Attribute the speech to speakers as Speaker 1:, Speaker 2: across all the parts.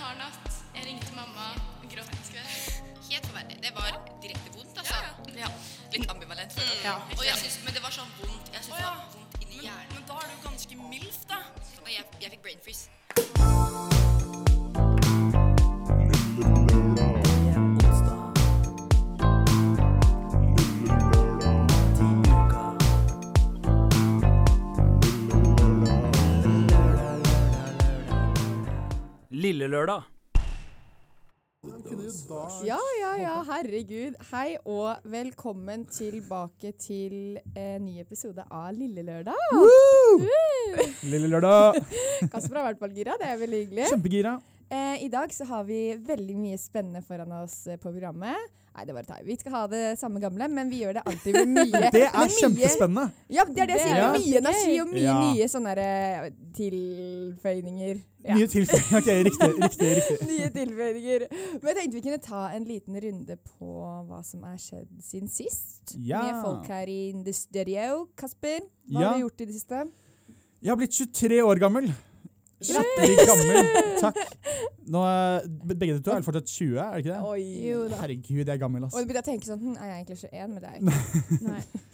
Speaker 1: hard natt. Jeg ringte mamma, gråt en skvett.
Speaker 2: Helt forferdelig. Det var direkte vondt, altså.
Speaker 1: Ja.
Speaker 2: Litt ambivalent. føler jeg.
Speaker 1: Ja.
Speaker 2: Og jeg synes, men det var sånn vondt. Jeg synes det var
Speaker 3: Å, ja.
Speaker 2: vondt inni
Speaker 3: Men,
Speaker 2: hjernen.
Speaker 3: men da er det jo ganske mildt, da.
Speaker 2: Og jeg, jeg fikk brain freeze.
Speaker 4: Lille lørdag.
Speaker 5: Ja, ja, ja, herregud. Hei og velkommen tilbake til en ny episode av Lille Lørdag. Woo!
Speaker 6: Lille lørdag.
Speaker 5: Kasper har vært på Algira, det er veldig hyggelig.
Speaker 6: Kjempegira.
Speaker 5: Eh, I dag så har vi veldig mye spennende foran oss eh, på programmet. Nei, det bare tar vi. Vi skal ha det samme gamle, men vi gjør det alltid med mye. med
Speaker 6: Det er kjempespennende.
Speaker 5: Mye, ja, det er det jeg sier.
Speaker 6: Ja.
Speaker 5: Med Mye energi og mye
Speaker 6: Ja.
Speaker 5: nye sånne der, eh, tilføyninger. Ja.
Speaker 6: Nye tilfeller. Ok, riktig, riktig, riktig.
Speaker 5: Nye tilføyninger. Men jeg tenkte vi kunne ta en liten runde på hva som er skjedd siden sist.
Speaker 6: Ja.
Speaker 5: Med folk her i the studio. Kasper, hva
Speaker 6: Ja.
Speaker 5: har du gjort i det siste?
Speaker 6: Jeg har blitt 23 år gammel. Skikkelig gammel. Takk. Nå, er- begge de to er vel fortsatt 20, er det ikke det?
Speaker 5: Oi. Jo da.
Speaker 6: Herregud, jeg er gammel, ass.
Speaker 5: Og du begynte å tenke sånn hm, Er jeg egentlig 21? Men det er jeg ikke. Nei.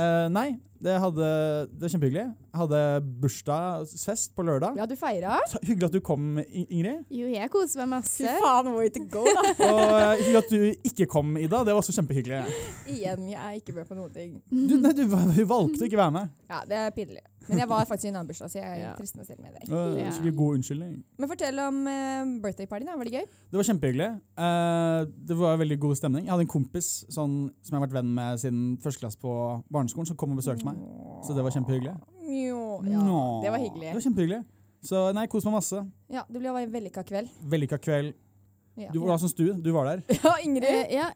Speaker 6: Eh, nei, det, hadde, det var kjempehyggelig. Jeg hadde bursdagsfest på lørdag.
Speaker 5: Ja, du feira?
Speaker 6: Så Hyggelig at du kom, I- Ingrid.
Speaker 1: Jo, jeg koser meg
Speaker 5: Fy
Speaker 1: masse.
Speaker 5: faen, way to go, da.
Speaker 6: Og eh, hyggelig at du ikke kom, Ida. Det var også kjempehyggelig.
Speaker 5: Igjen, jeg er ikke med på noen ting.
Speaker 6: Du, nei, du, du valgte å ikke være med.
Speaker 5: Ja, det er pinlig. Men jeg var faktisk i en annen bursdag, så jeg
Speaker 1: Ja.
Speaker 5: trøster meg selv med det.
Speaker 6: Eh,
Speaker 1: Ja.
Speaker 6: Skikkelig god unnskyldning.
Speaker 5: Men fortell om eh, birthday party, da. Var det gøy?
Speaker 6: Det var kjempehyggelig. Eh, det var veldig god stemning. Jeg hadde en kompis sånn, som jeg har vært venn med siden første klasse på barneskolen, som kom og besøkte meg. Så det var kjempehyggelig.
Speaker 5: Jo, ja.
Speaker 6: Nå.
Speaker 5: Det var hyggelig.
Speaker 6: Det var kjempehyggelig. Så nei, kos meg masse.
Speaker 5: Ja, Det ble en vellykka kveld.
Speaker 6: Vellykka kveld.
Speaker 5: Ja.
Speaker 6: Du, hva syns du? Du var der.
Speaker 5: ja, Ingrid.
Speaker 1: Eh, ja,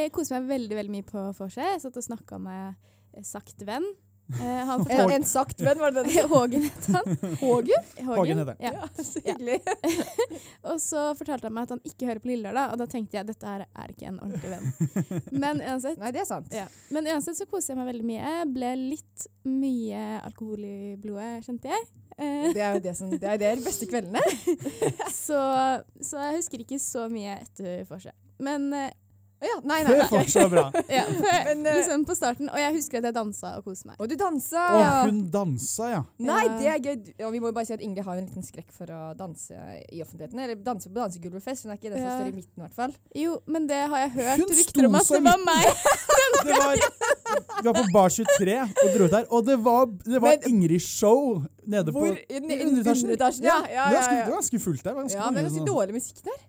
Speaker 1: jeg koser meg veldig veldig mye på vorset. Jeg satt og snakka med eh, sakte venn. Eh, han
Speaker 5: En,
Speaker 1: fortalte
Speaker 5: en sagt venn, var det den?
Speaker 1: Hågen het han.
Speaker 5: Hågen?
Speaker 6: Hagen heter den.
Speaker 1: Ja.
Speaker 5: Så hyggelig.
Speaker 1: Og så fortalte han meg at han ikke hører på Lille Lørdag, og da tenkte jeg dette her er ikke en ordentlig venn. Men uansett,
Speaker 5: Nei, det er sant.
Speaker 1: ja. Men uansett så koser jeg meg veldig mye. Jeg Ble litt mye alkohol i blodet, kjente jeg. Eh,
Speaker 5: Det er jo det som, det er de beste kveldene.
Speaker 1: så, så jeg husker ikke så mye etter vorset. Men eh,
Speaker 5: Å Ja, nei, nei.
Speaker 6: Det var så bra.
Speaker 1: ja, for,
Speaker 5: Men, eh,
Speaker 1: liksom på starten. Og jeg husker at jeg dansa og koste meg.
Speaker 5: Og du dansa!
Speaker 6: Og hun dansa, ja.
Speaker 5: Nei,
Speaker 1: Ja.
Speaker 5: det er gøy. Du- Og vi må jo bare si at Ingrid har jo en liten skrekk for å danse i offentligheten. Eller danse på dansegulvet først. Hun er ikke den som
Speaker 1: Ja.
Speaker 5: står i midten, i hvert fall.
Speaker 1: Jo, men det har jeg
Speaker 6: Hun
Speaker 1: hørt
Speaker 6: sto
Speaker 1: rykter om at
Speaker 6: så
Speaker 1: det var meg.
Speaker 6: Det var, vi var på Bar 23 og dro ut der, og det var, det var
Speaker 5: Men-
Speaker 6: Ingrid-show nede på
Speaker 5: Hvor? I den- i underetasjen? Ja,
Speaker 6: Ja, det
Speaker 5: ja, ja,
Speaker 6: var ganske,
Speaker 5: ja.
Speaker 6: det var ganske fullt der. Det var ganske
Speaker 5: Ja, men
Speaker 6: mange
Speaker 5: det er ganske
Speaker 6: som-
Speaker 5: dårlig musikk der.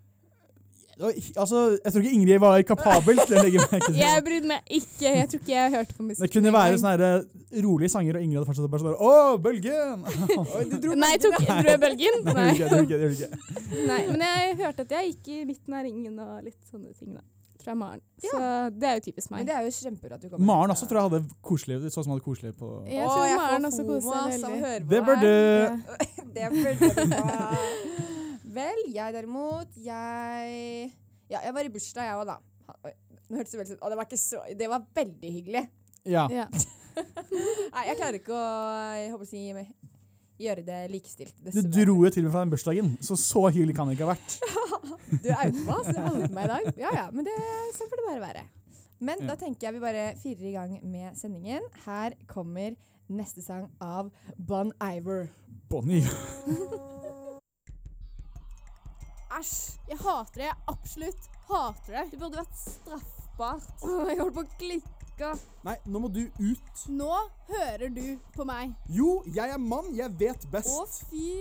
Speaker 6: Det var- Altså, jeg tror ikke Ingrid var kapabel til å legge merke til det.
Speaker 1: Jeg brydde meg ikke. Jeg tror ikke jeg hørte på musikk.
Speaker 6: Det kunne være sånne her, eh, rolige sanger, og Ingrid hadde fortsatt bare sånn der, Å, bølgen!
Speaker 1: Nei, tok, dro jeg bølgen? Nei.
Speaker 6: Det gjorde ikke, det gjorde ikke.
Speaker 1: Nei. Men jeg hørte at jeg gikk i midten av ringen og litt sånne ting, da. Fra Maren. Så det er jo typisk
Speaker 5: Men
Speaker 1: meg.
Speaker 5: det er jo kjempebra at du kommer.
Speaker 6: Maren også tror jeg hadde koselig det så ut som hun hadde koselig på
Speaker 1: Jeg tror Maren også koser seg veldig.
Speaker 6: Det bør du
Speaker 5: Det burde du ha. Vel, jeg derimot, jeg Ja, jeg var i bursdag, jeg òg, da. Ha- oi, Nå hørtes det veldig sånn Å, det var ikke så Det var veldig hyggelig.
Speaker 6: Ja.
Speaker 1: Ja.
Speaker 5: Nei, jeg klarer ikke å jeg håper å si, gjøre det likestilt.
Speaker 6: Du
Speaker 5: dessverre.
Speaker 6: dro jo til og med fra den bursdagen, så så hyggelig kan det ikke ha vært.
Speaker 5: Du outa meg, altså. Jeg outet meg i dag. Ja, ja, men det, sånn får det bare være. Men da tenker jeg vi bare fyrer i gang med sendingen. Her kommer neste sang av Bon Iver.
Speaker 6: Bonnie.
Speaker 1: Æsj. Jeg hater det. Jeg absolutt hater det. Det burde vært straffbart. Jeg holdt på å klikke.
Speaker 6: Nei, nå må du ut.
Speaker 1: Nå hører du på meg.
Speaker 6: Jo, jeg er mann, jeg vet best.
Speaker 1: fy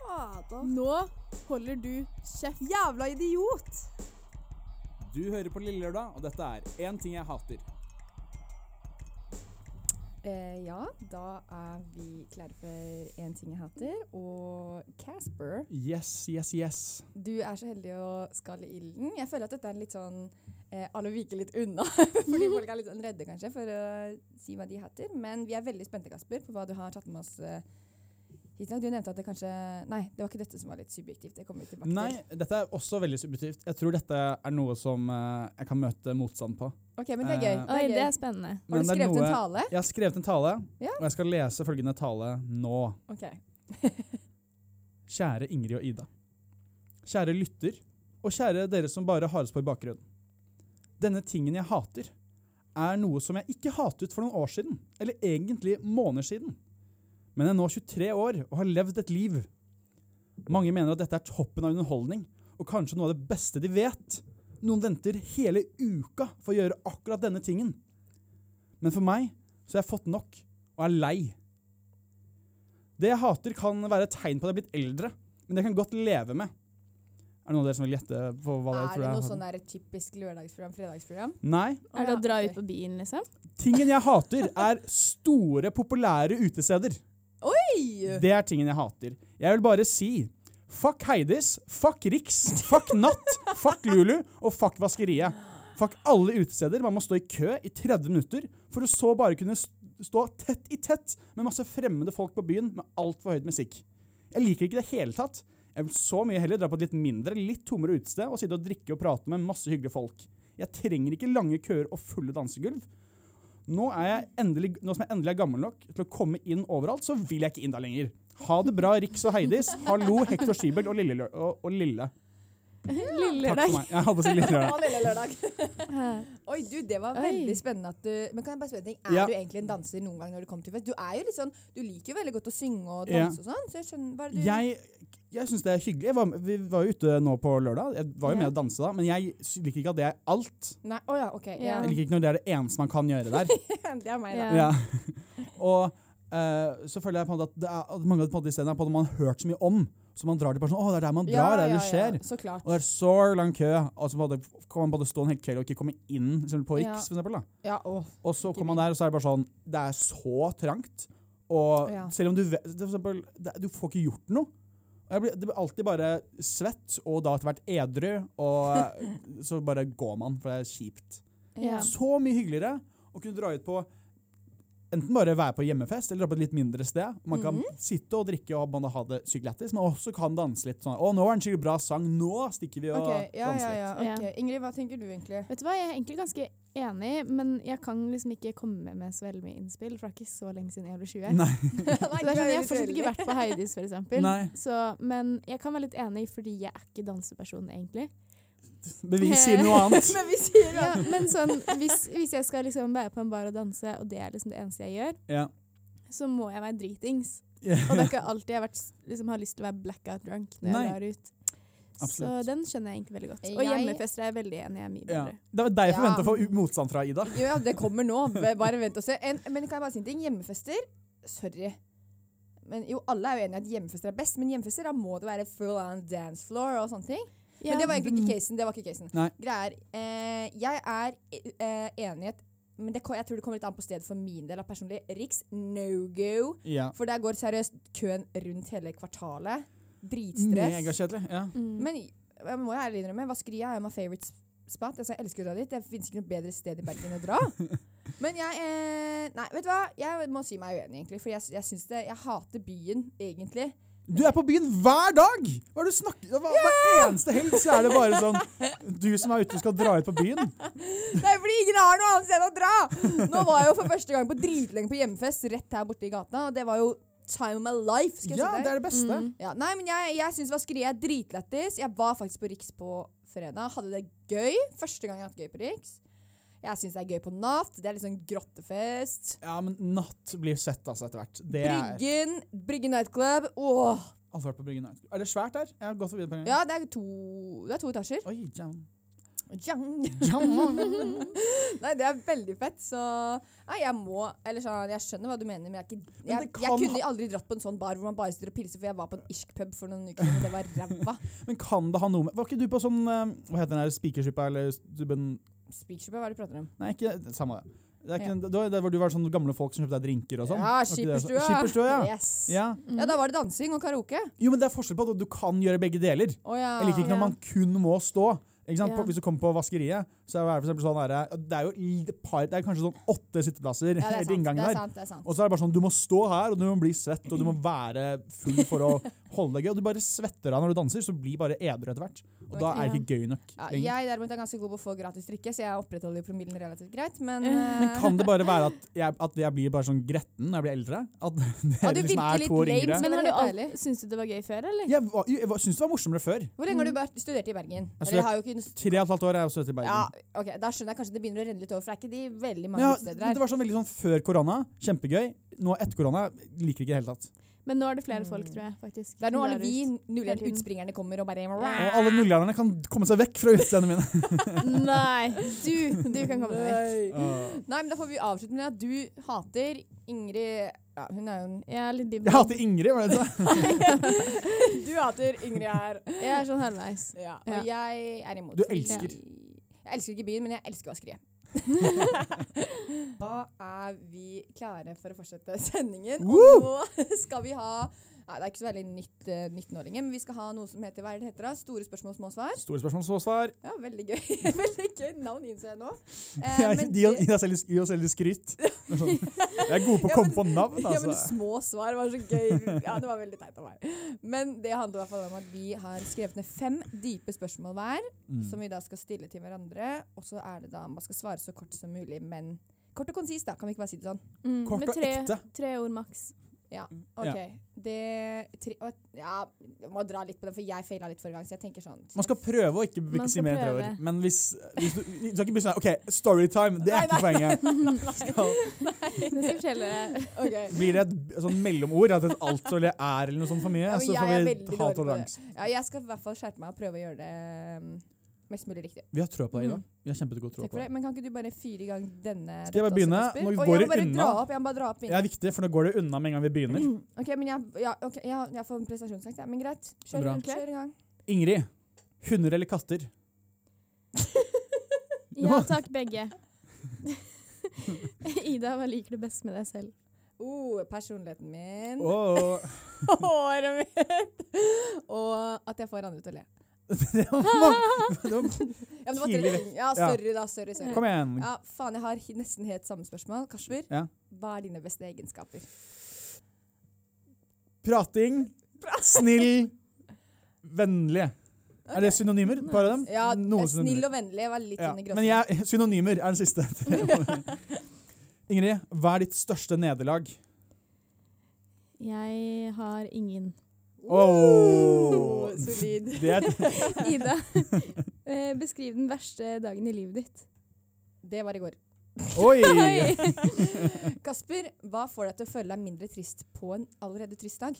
Speaker 1: fader. Nå holder du kjeft. Jævla idiot!
Speaker 6: Du hører på Lille Lørdag, og dette er én ting jeg hater.
Speaker 5: Eh, ja, da er vi klare for én ting jeg hater. Og Casper,
Speaker 6: Yes, yes, yes.
Speaker 5: du er så heldig å skal i ilden. Jeg føler at dette er en litt sånn eh, Alle viker litt unna, fordi folk er litt sånn redde kanskje for å si hva de hater. Men vi er veldig spente, Kasper, på hva du har tatt med oss eh, hit i dag. Du nevnte at det kanskje Nei, det var ikke dette som var litt subjektivt. Det kommer vi tilbake
Speaker 6: Nei,
Speaker 5: til.
Speaker 6: dette er også veldig subjektivt. Jeg tror dette er noe som eh, jeg kan møte motstand på.
Speaker 5: Ok, men det er gøy.
Speaker 6: Eh,
Speaker 1: Oi,
Speaker 5: det
Speaker 1: det
Speaker 5: er
Speaker 1: er
Speaker 5: gøy.
Speaker 1: spennende.
Speaker 5: Har
Speaker 6: Men
Speaker 5: du
Speaker 6: det er
Speaker 5: skrevet
Speaker 6: noe-
Speaker 5: en tale?
Speaker 6: Jeg har skrevet en tale,
Speaker 5: Ja.
Speaker 6: og jeg skal lese følgende tale nå.
Speaker 5: Ok.
Speaker 6: Kjære Ingrid og Ida. Kjære lytter, og kjære dere som bare har oss på i bakgrunnen. Denne tingen jeg hater, er noe som jeg ikke hatet for noen år siden, eller egentlig måneder siden. Men jeg er nå 23 år og har levd et liv. Mange mener at dette er toppen av underholdning, og kanskje noe av det beste de vet. Noen venter hele uka for å gjøre akkurat denne tingen. Men for meg så har jeg fått nok, og er lei. Det jeg hater, kan være et tegn på at jeg er blitt eldre, men det kan jeg godt leve med. Er det noen av dere som vil gjette på hva dere
Speaker 5: Er
Speaker 6: tror
Speaker 5: det
Speaker 6: jeg
Speaker 5: noe
Speaker 6: hater?
Speaker 5: sånn der typisk lørdagsprogram, fredagsprogram?
Speaker 6: Nei.
Speaker 1: Er det å dra ut
Speaker 5: ok.
Speaker 1: på byen, liksom?
Speaker 6: Tingen jeg hater, er store, populære utesteder.
Speaker 5: Oi!
Speaker 6: Det er tingen jeg hater. Jeg vil bare si fuck Heidis, fuck Riks, fuck Natt, fuck Lulu og fuck Vaskeriet. Fuck alle utesteder. Man må stå i kø i 30 minutter for å så bare kunne s- stå tett i tett med masse fremmede folk på byen med altfor høyt musikk. Jeg liker ikke det hele tatt. Jeg vil så mye heller dra på et litt mindre, litt tommere utested og sitte og drikke og prate med masse hyggelige folk. Jeg trenger ikke lange køer og fulle dansegulv. Nå, er jeg endelig, nå som jeg endelig er gammel nok til å komme inn overalt, så vil jeg ikke inn der lenger. Ha det bra, Riks og Heidis. Hallo, Hector Skibel og Lille. Lø- Og, og Lille.
Speaker 1: Lille
Speaker 6: Takk
Speaker 1: deg.
Speaker 6: for meg. Jeg hadde så lille lørdag.
Speaker 5: Ja, lille lørdag.
Speaker 1: Hæ.
Speaker 5: Oi, du, det var
Speaker 1: Oi.
Speaker 5: veldig spennende at du Men kan jeg bare spørre en ting? Er
Speaker 6: Ja.
Speaker 5: du egentlig en danser noen gang når du kommer til fest? Du er jo litt sånn Du liker jo veldig godt å synge og
Speaker 6: Ja.
Speaker 5: danse og sånn, så jeg skjønner hva er det du
Speaker 6: Jeg, jeg syns det er hyggelig. Jeg var, vi var jo ute nå på lørdag. Jeg var jo med
Speaker 5: Ja.
Speaker 6: å danse da, men jeg s- liker ikke at det er alt.
Speaker 5: Nei, å ja, OK. Ja.
Speaker 1: Ja.
Speaker 6: Jeg liker ikke når det er det eneste man kan gjøre der.
Speaker 5: det er meg, da.
Speaker 1: Ja.
Speaker 6: Ja. og eh, så føler jeg på en måte at det er, at mange av de på en måte stedene er på en måte man har hørt så mye om, så man drar til bare sånn Å, det er der man drar, det er der det
Speaker 5: ja,
Speaker 6: skjer.
Speaker 5: ja, Så klart.
Speaker 6: Og det er så lang kø. Og så på en måte kan man både stå en hel kveld og ikke komme inn for eksempel på Riks.
Speaker 5: Ja.
Speaker 6: For eksempel, da.
Speaker 5: Ja, å.
Speaker 6: Og så kommer man der, og så er det bare sånn Det er så trangt. Og
Speaker 5: Ja.
Speaker 6: selv om du vet for eksempel, det, Du får ikke gjort noe. Og Jeg blir, det blir alltid bare svett, og da etter hvert edru, og så bare går man, for det er kjipt.
Speaker 1: Ja.
Speaker 6: Så mye hyggeligere å kunne dra ut på Enten bare være på hjemmefest eller dra på et litt mindre sted. Man kan
Speaker 5: Mhm.
Speaker 6: sitte og drikke og man ha det sykt lættis, men også kan danse litt. sånn, 'Å, nå er det en skikkelig bra sang. Nå stikker vi og
Speaker 5: OK. Ja,
Speaker 6: danser
Speaker 5: ja,
Speaker 6: litt.'
Speaker 5: ja.
Speaker 1: litt.
Speaker 5: ok. Ingrid, hva tenker du egentlig?
Speaker 1: Vet du hva, jeg er egentlig ganske enig, men jeg kan liksom ikke komme med så veldig mye innspill, for det er ikke så lenge siden jeg ble 20.
Speaker 6: Nei.
Speaker 1: Så det er sånn, jeg har fortsatt ikke vært på Heidis, for eksempel.
Speaker 6: Nei.
Speaker 1: Så, men jeg kan være litt enig, fordi jeg er ikke danseperson, egentlig.
Speaker 6: Bevis sier noe annet.
Speaker 5: Men vi sier
Speaker 1: Ja, men sånn, hvis, hvis jeg skal liksom være på en bar og danse, og det er liksom det eneste jeg gjør,
Speaker 6: Ja.
Speaker 1: så må jeg være dritings.
Speaker 6: Ja.
Speaker 1: Og det er ikke alltid jeg har, vært, liksom, har lyst til å være blackout drunk når
Speaker 6: Nei.
Speaker 1: jeg drar ut. Så
Speaker 6: Absolutt.
Speaker 1: den skjønner jeg egentlig veldig godt. Og
Speaker 5: Jeg-
Speaker 1: hjemmefester er jeg veldig enig, jeg er mye
Speaker 6: Ja.
Speaker 1: bedre.
Speaker 6: Det var deg jeg
Speaker 5: Ja.
Speaker 6: forventa å få u- motstand fra, Ida.
Speaker 5: Jo, ja, det kommer nå. B- Bare vent og se. En, men kan jeg bare si en ting? Hjemmefester, sorry. Men jo, alle er jo enige i at hjemmefester er best, men hjemmefester, da må det være full on dance floor og sånne ting.
Speaker 1: Ja.
Speaker 5: Men det var egentlig ikke casen. Det var ikke casen.
Speaker 6: Mm. Nei.
Speaker 5: Greia er, eh, jeg er eh, enig i at Men det, ko- jeg tror det kommer litt an på stedet for min del av personlig. Riks no go.
Speaker 6: Ja.
Speaker 5: For der går seriøst køen rundt hele kvartalet. Dritstress.
Speaker 6: Megakjedelig. Ja.
Speaker 1: Mm.
Speaker 5: Men jeg må jo ærlig innrømme, Vaskeria er jo my favorite spot. Altså, jeg elsker å dra dit. Det finnes ikke noe bedre sted i Bergen å dra. Men jeg eh, Nei, vet du hva? Jeg må si meg uenig, egentlig. For jeg, jeg syns det Jeg hater byen, egentlig.
Speaker 6: Du er på byen hver dag! Hva er det du snakker hva, Hver eneste helg så er det bare sånn Du som er ute, skal dra ut på byen.
Speaker 5: Det er fordi ingen har noe annet sted å dra! Nå var jeg jo for første gang på dritlenge på hjemmefest rett her borte i gata, og det var jo time of my life. skal jeg si
Speaker 6: Ja,
Speaker 5: deg. Mm.
Speaker 6: det er det beste.
Speaker 5: Ja, nei, men jeg, jeg syns vaskeriet er dritlættis. Jeg var faktisk på Riks på fredag. Hadde det gøy. Første gang jeg har hatt gøy på Riks. Jeg syns det er gøy på natt. Det er litt sånn grottefest.
Speaker 6: Ja, men natt blir sett altså etter hvert. Det er
Speaker 5: Bryggen. Bryggen nightclub. Åh.
Speaker 6: Aldri vært på Bryggen. nei. Er det svært der? Jeg har gått forbi det på en gang.
Speaker 5: Ja, det er to, det er to etasjer.
Speaker 6: Oi, jam.
Speaker 5: Jang.
Speaker 6: Jam.
Speaker 5: Nei, det er veldig fett, så Nei, jeg må Eller sånn, jeg skjønner hva du mener, men jeg er ikke
Speaker 6: Men
Speaker 5: Jeg,
Speaker 6: det
Speaker 5: jeg
Speaker 6: kan
Speaker 5: kunne aldri dratt på en sånn bar hvor man bare sitter og pilser, for jeg var på en irsk pub for noen uker siden, og det var ræva.
Speaker 6: Men kan det ha noe med Var ikke du på sånn eh, Hva heter den der spikersuppa eller stubben
Speaker 5: Speakership, hva er det du prater om?
Speaker 6: Nei, ikke Samme det. Det er ikke, det var der hvor du var sånn gamle folk som kjøpte deg drinker og sånn.
Speaker 5: Ja,
Speaker 6: Var ikke det så-
Speaker 5: skipperstua.
Speaker 6: Skipperstua, ja.
Speaker 5: Yes.
Speaker 6: ja.
Speaker 5: Ja, da var det dansing og karaoke.
Speaker 6: Jo, men det er forskjell på at du kan gjøre begge deler.
Speaker 5: Å ja.
Speaker 6: Jeg liker ikke når
Speaker 1: Ja.
Speaker 6: man kun må stå. Ikke sant?
Speaker 1: Ja.
Speaker 6: På, hvis du kommer på vaskeriet, så er det for eksempel sånn der, det er jo i et par, det er kanskje sånn åtte sitteplasser
Speaker 5: Ja, det er
Speaker 6: helt i
Speaker 5: sant.
Speaker 6: inngangen
Speaker 5: Det er
Speaker 6: der.
Speaker 5: sant, det er sant.
Speaker 6: Og så er det bare sånn, du må stå her, og du må bli svett, og du må være full for å holde deg gøy. Og du bare svetter av når du danser, så blir bare edru etter hvert. Og da er det ikke gøy nok.
Speaker 5: Ja,
Speaker 6: lenger.
Speaker 5: jeg derimot er ganske god på å få gratis drikke, så jeg opprettholder jo promillen relativt greit. Men, eh,
Speaker 6: Kan det bare være at jeg, at jeg blir bare sånn gretten når jeg blir eldre? At dere
Speaker 5: du
Speaker 6: liksom
Speaker 5: virker
Speaker 6: er
Speaker 5: litt
Speaker 6: to år
Speaker 5: lame
Speaker 6: yngre?
Speaker 5: som-
Speaker 1: Men
Speaker 5: det
Speaker 1: har
Speaker 5: er
Speaker 1: du
Speaker 5: helt
Speaker 1: alt,
Speaker 5: ærlig.
Speaker 1: syns du det var gøy før, eller?
Speaker 6: Jeg, var- jeg, var- syntes det var morsommere før.
Speaker 5: hvor lenge har du vært studert i Bergen?
Speaker 6: Altså, Jeg
Speaker 5: Eller jeg har jo ikke
Speaker 6: Tre og et halvt år er jeg også i Bergen.
Speaker 5: ja, ok, Da skjønner jeg kanskje det begynner å renne litt over, for det er ikke de veldig
Speaker 6: Men
Speaker 5: mange
Speaker 6: ja,
Speaker 5: utesteder
Speaker 6: men
Speaker 5: her.
Speaker 6: det var sånn veldig sånn før korona, kjempegøy. Nå etter korona, liker ikke i det hele tatt.
Speaker 1: Men nå er det flere folk, tror jeg. faktisk.
Speaker 5: Mm. Det er nå
Speaker 1: som
Speaker 5: alle
Speaker 1: drar
Speaker 5: vi
Speaker 1: ut.
Speaker 5: nulleren
Speaker 1: tiden.
Speaker 5: utspringerne kommer og bare
Speaker 6: Og alle nullerne kan komme seg vekk fra utestedene mine.
Speaker 1: Nei, du, du kan komme deg vekk.
Speaker 6: Åh.
Speaker 5: Nei, men da får vi avslutte med at du hater Ingrid Ja, hun er jo en
Speaker 1: Jeg er litt
Speaker 6: Jeg
Speaker 1: bibel.
Speaker 6: hater Ingrid, var det det du sa?
Speaker 5: Du hater Ingrid her.
Speaker 1: Jeg er sånn halvveis.
Speaker 5: Ja, og jeg er imot.
Speaker 6: Du elsker.
Speaker 5: Jeg elsker ikke byen, men jeg elsker vaskeriet. da er vi klare for å fortsette sendingen. Og nå skal vi ha Nei, det er ikke så veldig nytt, eh, nytt nålinger, men vi skal ha noe som heter hva er det det heter da? Store spørsmål, små svar.
Speaker 6: Store spørsmål, så svar.
Speaker 5: Ja, Veldig gøy Veldig gøy navn, innså jeg nå. Eh, men
Speaker 6: Gi
Speaker 5: det-
Speaker 6: oss selv litt- gi oss selv litt skryt. Men sånn, Jeg er god på å
Speaker 5: Ja,
Speaker 6: komme
Speaker 5: men-
Speaker 6: på navn,
Speaker 5: Ja, men
Speaker 6: altså.
Speaker 5: små svar var så gøy. Ja, det var veldig teit av meg. Men det handler i hvert fall om at vi har skrevet ned fem dype spørsmål hver,
Speaker 6: Mm.
Speaker 5: som vi da skal stille til hverandre. Og så er det da man skal svare så kort som mulig, men kort og konsist, da. Kan vi ikke bare si det sånn?
Speaker 1: Mm,
Speaker 6: Kort
Speaker 1: med
Speaker 6: og
Speaker 1: tre,
Speaker 6: ekte.
Speaker 1: tre ord maks.
Speaker 5: OK. Det tre, og, Ja, jeg må dra litt på det, for jeg feila litt forrige gang, så jeg tenker sånn
Speaker 6: Man skal prøve å ikke
Speaker 1: Man
Speaker 6: ikke si
Speaker 1: skal
Speaker 6: mer enn tre ord.
Speaker 1: prøve.
Speaker 6: Men hvis, hvis du, du skal ikke bli sånn OK, storytime. Det er ikke poenget.
Speaker 1: Det skal jeg fortelle deg.
Speaker 5: OK.
Speaker 6: Blir det et sånn mellomord, at et alt eller er eller noe sånt for mye,
Speaker 5: Ja, men jeg
Speaker 6: så får
Speaker 5: er veldig
Speaker 6: vi
Speaker 5: dårlig
Speaker 6: ha
Speaker 5: på det.
Speaker 6: toleranse.
Speaker 5: Ja, jeg skal i hvert fall skjerpe meg og prøve å gjøre det mm, mest mulig riktig.
Speaker 6: Vi har trø på deg i dag. Vi har kjempegod tro
Speaker 5: Mm. Takk
Speaker 6: på
Speaker 5: for det.
Speaker 6: deg.
Speaker 5: Men kan ikke du bare fyre i gang denne?
Speaker 6: Skal
Speaker 5: dette
Speaker 6: jeg bare
Speaker 5: også,
Speaker 6: begynne?
Speaker 5: Kasper?
Speaker 6: Nå
Speaker 5: Og
Speaker 6: går
Speaker 5: jeg må
Speaker 6: det
Speaker 5: bare
Speaker 6: unna.
Speaker 5: dra opp. Jeg må bare dra opp
Speaker 6: Det er viktig, for nå går det unna med en gang vi begynner.
Speaker 5: Ok, men jeg, ja, ok, ja, jeg får prestasjonsangst, ja. men greit. Kjør,
Speaker 6: Bra.
Speaker 5: kjør i gang.
Speaker 6: Ingrid. Hunder eller katter?
Speaker 1: Ja takk, begge. Ida, hva liker du best med deg selv?
Speaker 5: Oh, personligheten min.
Speaker 6: Åh,
Speaker 5: Håret mitt. Og at jeg får andre til å le.
Speaker 6: det var mange- det var-
Speaker 5: Ja, men det var
Speaker 6: Tidlig
Speaker 5: tre
Speaker 6: vekk.
Speaker 5: ting. Ja,
Speaker 6: Ja.
Speaker 5: sorry da, sorry, sorry.
Speaker 6: Kom igjen.
Speaker 5: Ja, faen, jeg har hi- nesten helt samme spørsmål. Kasper,
Speaker 6: Ja.
Speaker 5: hva er dine beste egenskaper?
Speaker 6: Prating. Snill. Vennlig. Er det synonymer? et Par av dem?
Speaker 5: Ja,
Speaker 6: Noen synonymer.
Speaker 5: snill og vennlig var litt
Speaker 6: Ja,
Speaker 5: sånn i
Speaker 6: Men jeg, synonymer er den siste. Ingrid, hva er ditt største nederlag?
Speaker 1: Jeg har ingen.
Speaker 6: Åh.
Speaker 5: Oh, solid.
Speaker 6: Det er,
Speaker 1: Ida, eh, beskriv den verste dagen i livet ditt.
Speaker 5: Det var i går.
Speaker 6: oi!
Speaker 5: Kasper, hva får deg til å føle deg mindre trist på en allerede trist dag?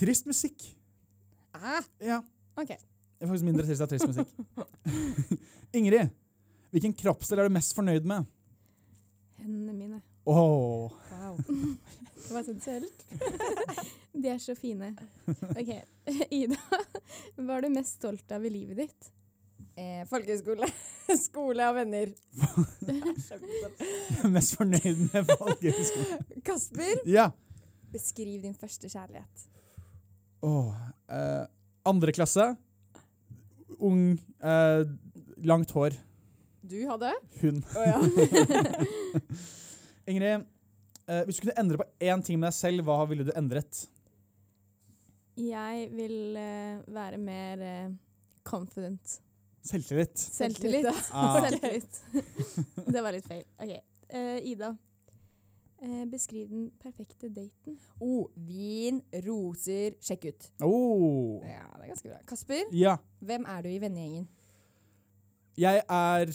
Speaker 6: Trist musikk.
Speaker 5: Ah,
Speaker 6: Ja.
Speaker 5: Ok.
Speaker 6: Jeg er faktisk mindre trist av trist musikk. Ingrid, hvilken kroppsdel er du mest fornøyd med?
Speaker 1: Hendene mine.
Speaker 6: Åh.
Speaker 5: wow.
Speaker 1: Det var sensuelt. De er så fine. Ok, Ida, hva er du mest stolt av i livet ditt?
Speaker 5: Eh, folkehøyskole, skole og venner.
Speaker 6: Mest fornøyd med folkehøyskolen.
Speaker 5: Kasper,
Speaker 6: Ja.
Speaker 5: beskriv din første kjærlighet.
Speaker 6: Åh. eh, andre klasse. Ung. eh, langt hår.
Speaker 5: Du hadde?
Speaker 6: Hun.
Speaker 5: Å ja.
Speaker 6: Ingrid, eh, hvis du kunne endre på én ting med deg selv, hva ville du endret?
Speaker 1: Jeg vil eh, være mer eh, confident.
Speaker 6: Selvtillit.
Speaker 1: Selvtillit.
Speaker 6: Ah.
Speaker 1: Selvtillit. Det var litt feil. Ok, eh, Ida. eh, beskriv den perfekte daten.
Speaker 5: Oh, vin, roser, sjekk ut.
Speaker 6: Oh.
Speaker 5: Ja, det er ganske bra. Kasper,
Speaker 6: Ja.
Speaker 5: hvem er du i vennegjengen?
Speaker 6: Jeg er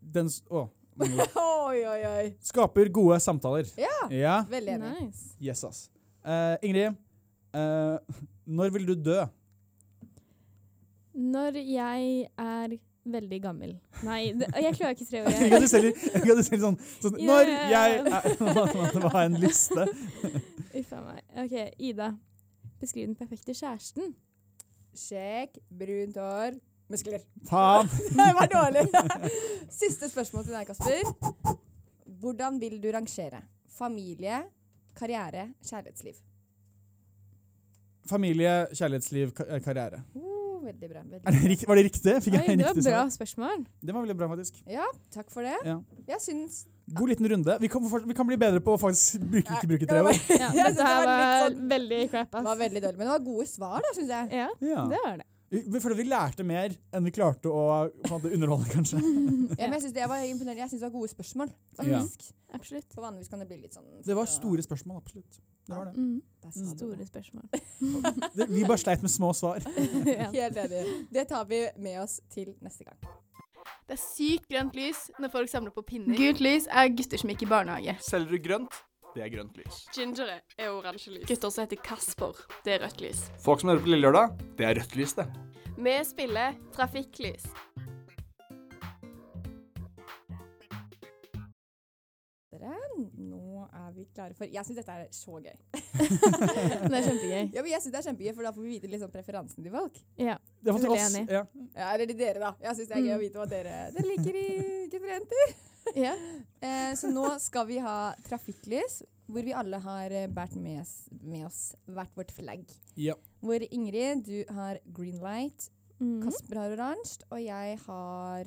Speaker 6: den s- Å. mange ord.
Speaker 5: Oi, oi, oi.
Speaker 6: Skaper gode samtaler.
Speaker 5: Ja.
Speaker 6: Ja.
Speaker 5: Veldig enig.
Speaker 1: Nice.
Speaker 6: Yes, ass. Eh, Ingrid, eh, når vil du dø?
Speaker 1: Når jeg er veldig gammel. Nei, det, jeg klarer ikke tre
Speaker 6: Jeg
Speaker 1: år.
Speaker 6: liker at du selger, jeg liker at du selger sånn, sånn
Speaker 1: Ja.
Speaker 6: Når jeg er Det var en liste.
Speaker 1: Uff a meg. Ok, Ida. Beskriv den perfekte kjæresten.
Speaker 5: Sjekk, brunt hår, muskler.
Speaker 6: Faen.
Speaker 5: Det var dårlig. Siste spørsmål til deg, Kasper. Hvordan vil du rangere familie, karriere, kjærlighetsliv?
Speaker 6: Familie, kjærlighetsliv, ka- eh, karriere.
Speaker 5: Oh, veldig bra. Veldig
Speaker 6: Er det
Speaker 5: bra.
Speaker 6: rik- Var det riktig? Fikk
Speaker 1: Oi,
Speaker 6: jeg
Speaker 1: det var
Speaker 6: riktig
Speaker 1: bra
Speaker 6: svar?
Speaker 1: spørsmål.
Speaker 6: Det var veldig bra, faktisk.
Speaker 5: Ja, takk for det.
Speaker 6: Ja.
Speaker 5: Jeg syns
Speaker 6: God liten runde. Vi kan, for- vi kan bli bedre på å faktisk bruke, ikke bruke tre år.
Speaker 1: Ja,
Speaker 5: Jeg synes
Speaker 1: dette her
Speaker 5: det var
Speaker 1: var
Speaker 5: litt sånn-
Speaker 1: veldig crap,
Speaker 5: det
Speaker 1: ass.
Speaker 5: var veldig dårlig, men det var gode svar, da, syns jeg.
Speaker 1: Ja,
Speaker 6: Ja.
Speaker 1: det var det.
Speaker 6: Vi vi føler vi lærte mer enn vi klarte å på en måte, underholde, kanskje.
Speaker 5: Ja, men jeg syns det, jeg var imponert. Jeg synes det var gode spørsmål,
Speaker 6: Ja.
Speaker 5: faktisk.
Speaker 1: Absolutt.
Speaker 5: For vanligvis kan det bli litt sånn
Speaker 6: Det var store spørsmål, absolutt. Det var det.
Speaker 1: Mm.
Speaker 5: Der sa du det.
Speaker 1: Store spørsmål.
Speaker 6: det vi bare sleit med små svar.
Speaker 1: ja.
Speaker 5: Helt enig. Det tar vi med oss til neste gang.
Speaker 2: Det er sykt grønt lys når folk samler på pinner. Gult lys er gutter som gikk i barnehage.
Speaker 4: Selger du grønt, det er grønt lys.
Speaker 2: Gingere er oransje lys. Gutter som heter Kasper, det er rødt lys.
Speaker 4: Folk som hører på Lille Lørdag, det er rødt lys, det.
Speaker 2: Vi spiller trafikklys.
Speaker 5: Dere, nå er vi klare for Jeg syns dette er så gøy.
Speaker 1: Det er kjempegøy.
Speaker 5: Ja, men jeg synes det er kjempegøy, For da får vi vite litt sånn preferansen til folk.
Speaker 1: Ja.
Speaker 6: Det var til
Speaker 1: Veldig
Speaker 6: oss.
Speaker 1: enig.
Speaker 6: Ja.
Speaker 5: Ja, Eller til dere, da. Jeg syns det er gøy å vite hva dere, dere liker i gutter og jenter.
Speaker 1: ja.
Speaker 5: Eh, så nå skal vi ha trafikklys, hvor vi alle har eh, båret med, s- med oss hvert vårt flagg.
Speaker 6: Ja.
Speaker 5: Hvor Ingrid, du har green light,
Speaker 1: Mm.
Speaker 5: Kasper har oransje, og jeg har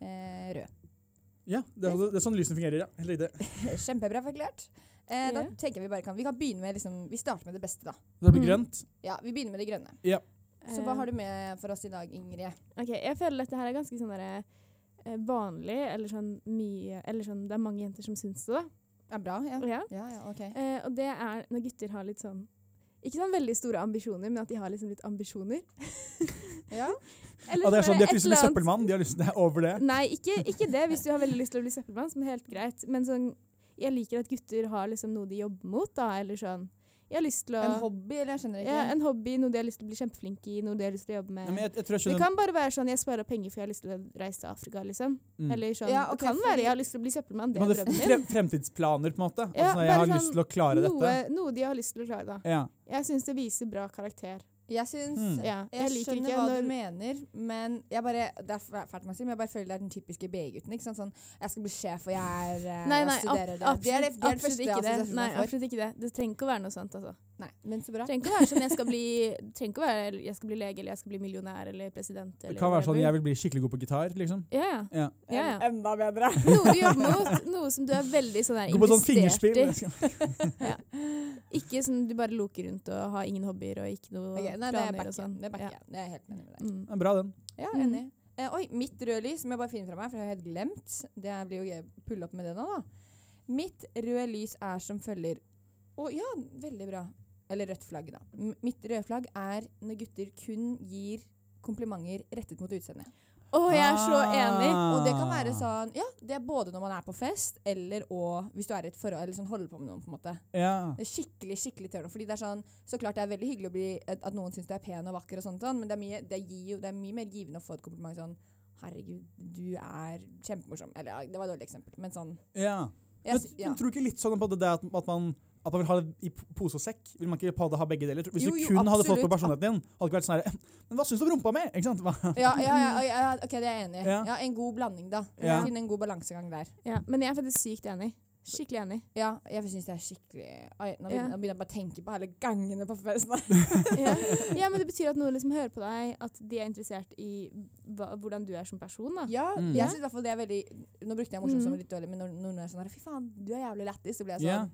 Speaker 5: eh, rød.
Speaker 6: Ja, det, er, det er sånn lysene fungerer, ja. Helt riktig.
Speaker 5: Kjempebra forklart. Eh, da
Speaker 1: Ja.
Speaker 5: tenker jeg Vi bare kan Vi kan begynne med liksom, Vi starter med det beste, da.
Speaker 6: Det blir
Speaker 1: Mm.
Speaker 6: grønt.
Speaker 5: Ja, Vi begynner med det grønne. Så hva har du med for oss i dag, Ingrid?
Speaker 1: Ok, jeg føler dette her er ganske sånn derre eh, vanlig, eller sånn mye Eller sånn det er mange jenter som syns det, da.
Speaker 5: Ja, bra, ja.
Speaker 1: Ja.
Speaker 5: Ja, ja, ok.
Speaker 1: Eh, og det er når gutter har litt sånn Ikke sånn veldig store ambisjoner, men at de har liksom litt ambisjoner.
Speaker 5: Ja.
Speaker 1: Eller
Speaker 6: Ja, det er
Speaker 1: så
Speaker 6: sånn, De har
Speaker 1: et
Speaker 6: lyst til å bli
Speaker 1: eller annet-
Speaker 6: søppelmann. De har lyst til det er over det.
Speaker 1: Nei, ikke, ikke det. Hvis du har veldig lyst til å bli søppelmann, så er det helt greit. Men sånn, jeg liker at gutter har liksom noe de jobber mot, da. Eller sånn Jeg har lyst til å
Speaker 5: En hobby, eller? Jeg skjønner ikke.
Speaker 1: ja, en hobby, noe de har lyst til å bli kjempeflink i, noe de har lyst til å jobbe med.
Speaker 6: Nei, men jeg, jeg tror jeg
Speaker 1: Det
Speaker 6: skjønner.
Speaker 1: kan bare være sånn jeg sparer penger for jeg har lyst til å reise til Afrika, liksom.
Speaker 6: Mm.
Speaker 1: Eller sånn,
Speaker 5: Ja, ok,
Speaker 1: Det kan
Speaker 5: fordi-
Speaker 1: være jeg har lyst til å bli søppelmann, det
Speaker 6: Men
Speaker 1: er
Speaker 6: det
Speaker 1: drømmen
Speaker 6: fre
Speaker 1: min.
Speaker 6: fremtidsplaner, på en måte.
Speaker 1: Ja,
Speaker 6: altså,
Speaker 1: bare
Speaker 6: jeg har
Speaker 1: sånn
Speaker 6: lyst til å klare
Speaker 1: Noe,
Speaker 6: dette.
Speaker 1: noe de har lyst til å klare, da.
Speaker 6: Ja.
Speaker 1: Jeg syns det viser bra karakter.
Speaker 5: Jeg syns
Speaker 6: Mm.
Speaker 1: Ja,
Speaker 5: Jeg,
Speaker 1: jeg liker
Speaker 5: skjønner
Speaker 1: ikke
Speaker 5: hva
Speaker 1: når-
Speaker 5: du mener, men jeg bare det er fæ- fælt å si, men jeg bare føler det er den typiske BI-gutten. ikke sant? Sånn, 'Jeg skal bli sjef, og jeg er eh,
Speaker 1: Nei, nei,
Speaker 5: jeg
Speaker 1: ab
Speaker 5: studerer det.»
Speaker 1: absolutt,
Speaker 5: det er det, det, er
Speaker 1: absolutt
Speaker 5: det første
Speaker 1: ikke det.
Speaker 5: assosiasjonen
Speaker 1: Nei,
Speaker 5: jeg får.
Speaker 1: absolutt ikke det. Det trenger ikke å være noe sånt, altså.
Speaker 5: Nei, men så bra.
Speaker 1: Det trenger ikke å være sånn jeg skal bli det trenger ikke å være jeg skal bli lege eller jeg skal bli millionær eller president. Eller
Speaker 6: Det kan være sånn
Speaker 1: whatever.
Speaker 6: jeg vil bli skikkelig god på gitar, liksom.
Speaker 1: ja, ja.
Speaker 6: Ja.
Speaker 1: ja,
Speaker 5: En-
Speaker 1: ja.
Speaker 5: Enda bedre.
Speaker 1: Noe du jobber mot, noe som du er veldig sånn der,
Speaker 6: God på sånn
Speaker 1: investert
Speaker 6: fingerspill. sånn.
Speaker 1: i. Ikke sånn du bare loker rundt og har ingen hobbyer og ikke noe
Speaker 5: Ok, nei, det er
Speaker 1: planer og
Speaker 5: backen.
Speaker 1: sånn.
Speaker 5: Det er
Speaker 1: Ja.
Speaker 5: backen. Det er jeg helt enig med deg.
Speaker 1: Mm.
Speaker 6: Ja, bra, den.
Speaker 5: Ja,
Speaker 1: Mm.
Speaker 5: enig. Eh, oi, mitt røde lys, som jeg bare finner fra meg, for jeg har helt glemt. Det er- blir jo gøy å pulle opp med det nå, da. Mitt røde lys er som følger Å ja, veldig bra. Eller rødt flagg, da. M mitt røde flagg er når gutter kun gir komplimenter rettet mot utseendet.
Speaker 1: Å, jeg er så
Speaker 6: Ah.
Speaker 1: enig!
Speaker 5: Og det kan være sånn Ja, det er både når man er på fest, eller og hvis du er i et forhold eller sånn holder på med noen, på en måte.
Speaker 6: Ja.
Speaker 5: Det er skikkelig, skikkelig turn off. Fordi det er sånn Så klart det er veldig hyggelig å bli at at noen syns du er pen og vakker og sånt, sånn, men det er, mye, det, gir jo, det er mye mer givende å få et kompliment sånn Herregud, du er kjempemorsom. Eller ja, det var et dårlig eksempel, men sånn
Speaker 6: ja.
Speaker 5: jeg,
Speaker 6: Men,
Speaker 5: sy- ja.
Speaker 6: men tror du ikke litt sånn på det der at, at man at man vil ha det i p- pose og sekk? Vil man ikke på det ha begge deler? Hvis
Speaker 5: Jo,
Speaker 6: du
Speaker 5: jo,
Speaker 6: kun hadde fått på
Speaker 5: absolutt.
Speaker 6: personligheten din, hadde det ikke vært sånn her Men hva syns du om rumpa mi? Ikke sant? Hva?
Speaker 5: Ja, ja, ja, ja, ja, OK, det er jeg enig i.
Speaker 6: Ja.
Speaker 5: Ja. en god blanding, da.
Speaker 6: Ja.
Speaker 5: Finne en god balansegang der.
Speaker 1: Ja, men jeg er faktisk sykt enig. Skikkelig enig.
Speaker 5: Ja, jeg syns det er skikkelig Oi, nå, begynner,
Speaker 1: Ja.
Speaker 5: nå begynner jeg bare å tenke på alle gangene på festen.
Speaker 1: Ja. ja, men det betyr at noen liksom hører på deg, at de er interessert i hva, hvordan du er som person, da.
Speaker 5: Ja,
Speaker 6: Mm.
Speaker 5: jeg synes i hvert fall det er veldig Nå brukte jeg morsom som
Speaker 1: Mm.
Speaker 5: litt dårlig, men når, når noen er sånn her Fy faen, du er jævlig lættis, så blir jeg sånn
Speaker 6: Ja.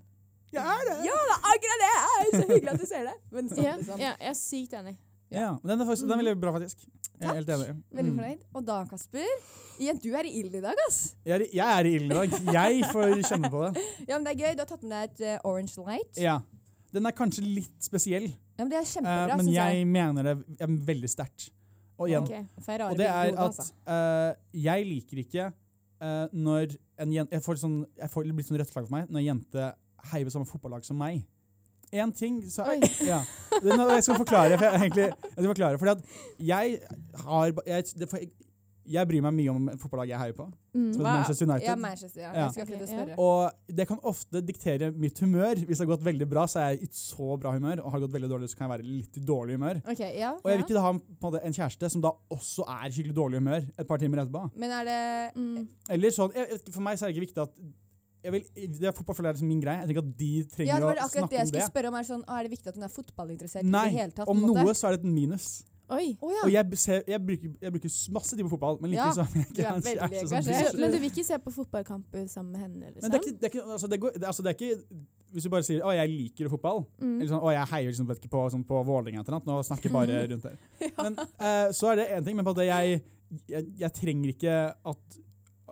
Speaker 6: Jeg er det!
Speaker 5: Ja, det er akkurat det! Jeg er så hyggelig at du ser det. Men sånn,
Speaker 1: Ja,
Speaker 5: liksom.
Speaker 1: ja, jeg er sykt enig.
Speaker 6: Ja. Men den er, faktisk, den er veldig bra, faktisk. Jeg
Speaker 5: Takk.
Speaker 6: er helt enig.
Speaker 5: Veldig
Speaker 6: Mm.
Speaker 5: fornøyd. Og da, Kasper. Igjen, du er i ilden i dag, ass.
Speaker 6: Jeg er, i- jeg er i ilden i dag. Jeg får kjenne på det.
Speaker 5: Ja, men det er gøy. Du har tatt med deg et eh, orange light. Ja.
Speaker 6: Ja. Den er kanskje litt spesiell,
Speaker 5: men det er
Speaker 6: eh,
Speaker 5: kjempebra,
Speaker 6: men
Speaker 5: synes
Speaker 6: jeg mener det eh, veldig sterkt. Og igjen,
Speaker 1: Ok.
Speaker 5: Får jeg rare
Speaker 6: og det
Speaker 5: bilder i
Speaker 6: er
Speaker 5: hodet,
Speaker 6: at
Speaker 5: altså.
Speaker 6: eh, jeg liker ikke eh, når en jente Jeg får, sånn, jeg får det blir sånn rødt flagg for meg når en jente heiver samme fotballag som meg. Én ting så,
Speaker 1: Oi.
Speaker 6: ja. Det, nå, jeg skal forklare. For jeg, egentlig, jeg skal forklare fordi at jeg har ba- jeg, det, for jeg, jeg bryr meg mye om fotballaget jeg heier på.
Speaker 1: Mm.
Speaker 6: Som heter
Speaker 5: Hva-
Speaker 6: Manchester United.
Speaker 5: Ja, Manchester. Ja.
Speaker 6: Ja.
Speaker 5: Jeg skal akkurat
Speaker 1: Ok,
Speaker 5: til å spørre.
Speaker 6: Og det kan ofte diktere mitt humør. Hvis det har gått veldig bra, så er jeg i så bra humør. Og har det gått veldig dårlig, så kan jeg være i litt i dårlig humør.
Speaker 5: Ok, ja.
Speaker 6: Og jeg vil ikke ha en, på en måte en kjæreste som da også er i skikkelig dårlig humør et par timer etterpå.
Speaker 5: Men er det
Speaker 1: Mm.
Speaker 6: Eller sånn, jeg, jeg- For meg så er det ikke viktig at jeg vil, det er Fotball føler jeg er liksom min greie. Jeg tenker at De
Speaker 5: Ja,
Speaker 6: trenger
Speaker 5: det var det akkurat
Speaker 6: å snakke
Speaker 5: det jeg
Speaker 6: om det.
Speaker 5: skulle spørre om. Er det, sånn, ah, er det viktig at hun er fotballinteressert i det
Speaker 6: Nei,
Speaker 5: hele tatt? på
Speaker 6: om
Speaker 5: en måte?
Speaker 6: noe så er det et minus.
Speaker 1: Å Oi.
Speaker 5: Å ja.
Speaker 6: Og jeg, b- ser, jeg, bruker, jeg bruker s- masse tid på fotball, men
Speaker 5: Ja,
Speaker 6: likevel så er jeg
Speaker 5: du er
Speaker 6: ikke så er jeg
Speaker 5: veldig
Speaker 6: ikke sånn
Speaker 5: engasjert.
Speaker 1: Så,
Speaker 6: fysisk.
Speaker 1: men du vil ikke se på fotballkamper sammen med henne? sånn?
Speaker 6: Men det er ikke, det er ikke, altså det går, det, altså det er ikke Hvis du bare sier 'Å, jeg liker fotball',
Speaker 1: Mm.
Speaker 5: Mm.
Speaker 6: eller sånn 'Å, jeg heier liksom vet ikke på, sånn, på Vålerenga' eller noe, nå snakker jeg bare rundt her. Men, eh, så er det én ting, men på at jeg, jeg, jeg trenger ikke at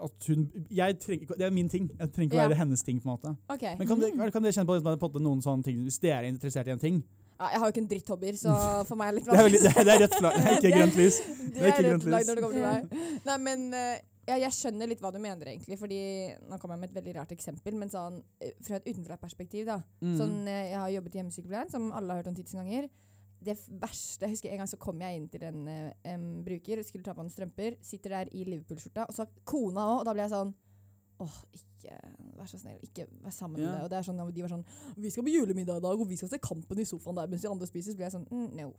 Speaker 6: at hun, jeg trenger, ikke- det er min ting. Jeg trenger ikke
Speaker 5: Ja. Mm.
Speaker 6: være hennes ting. på en måte
Speaker 5: Ok.
Speaker 6: Men Kan dere, kan dere kjenne på, liksom, at på en måte noen sånne ting hvis dere er interessert i en ting?
Speaker 5: Ja, jeg har jo ikke en dritthobbyer, så for meg er det litt
Speaker 6: Det er, veldig, det er, det er rødt flagg. Det er
Speaker 5: Det
Speaker 6: ikke
Speaker 5: er-
Speaker 6: grønt lys.
Speaker 5: Det
Speaker 6: er
Speaker 5: er
Speaker 6: ikke
Speaker 5: rødt
Speaker 6: grønt
Speaker 5: flagg
Speaker 6: lys.
Speaker 5: når det kommer til meg. Nei, men eh, ja, jeg skjønner litt hva du mener, egentlig. Fordi, nå kommer jeg med et veldig rart eksempel, men sånn, eh, fra et utenfra-perspektiv. da.
Speaker 6: Mm.
Speaker 5: Sånn, eh, Jeg har jobbet i hjemmesykepleien, som alle har hørt om tusen ganger. Det f- verste, jeg husker En gang så kom jeg inn til en, eh, em, bruker og skulle ta på noen strømper. Sitter der i Liverpool-skjorta, og så har kona òg, og da ble jeg sånn Åh, ikke vær så snill, ikke vær sammen med
Speaker 6: Ja.
Speaker 5: deg. Og det er sånn, De var sånn Vi skal på julemiddag i dag, og vi skal se kampen i sofaen der mens de andre spiser. Så ble jeg sånn mm, No.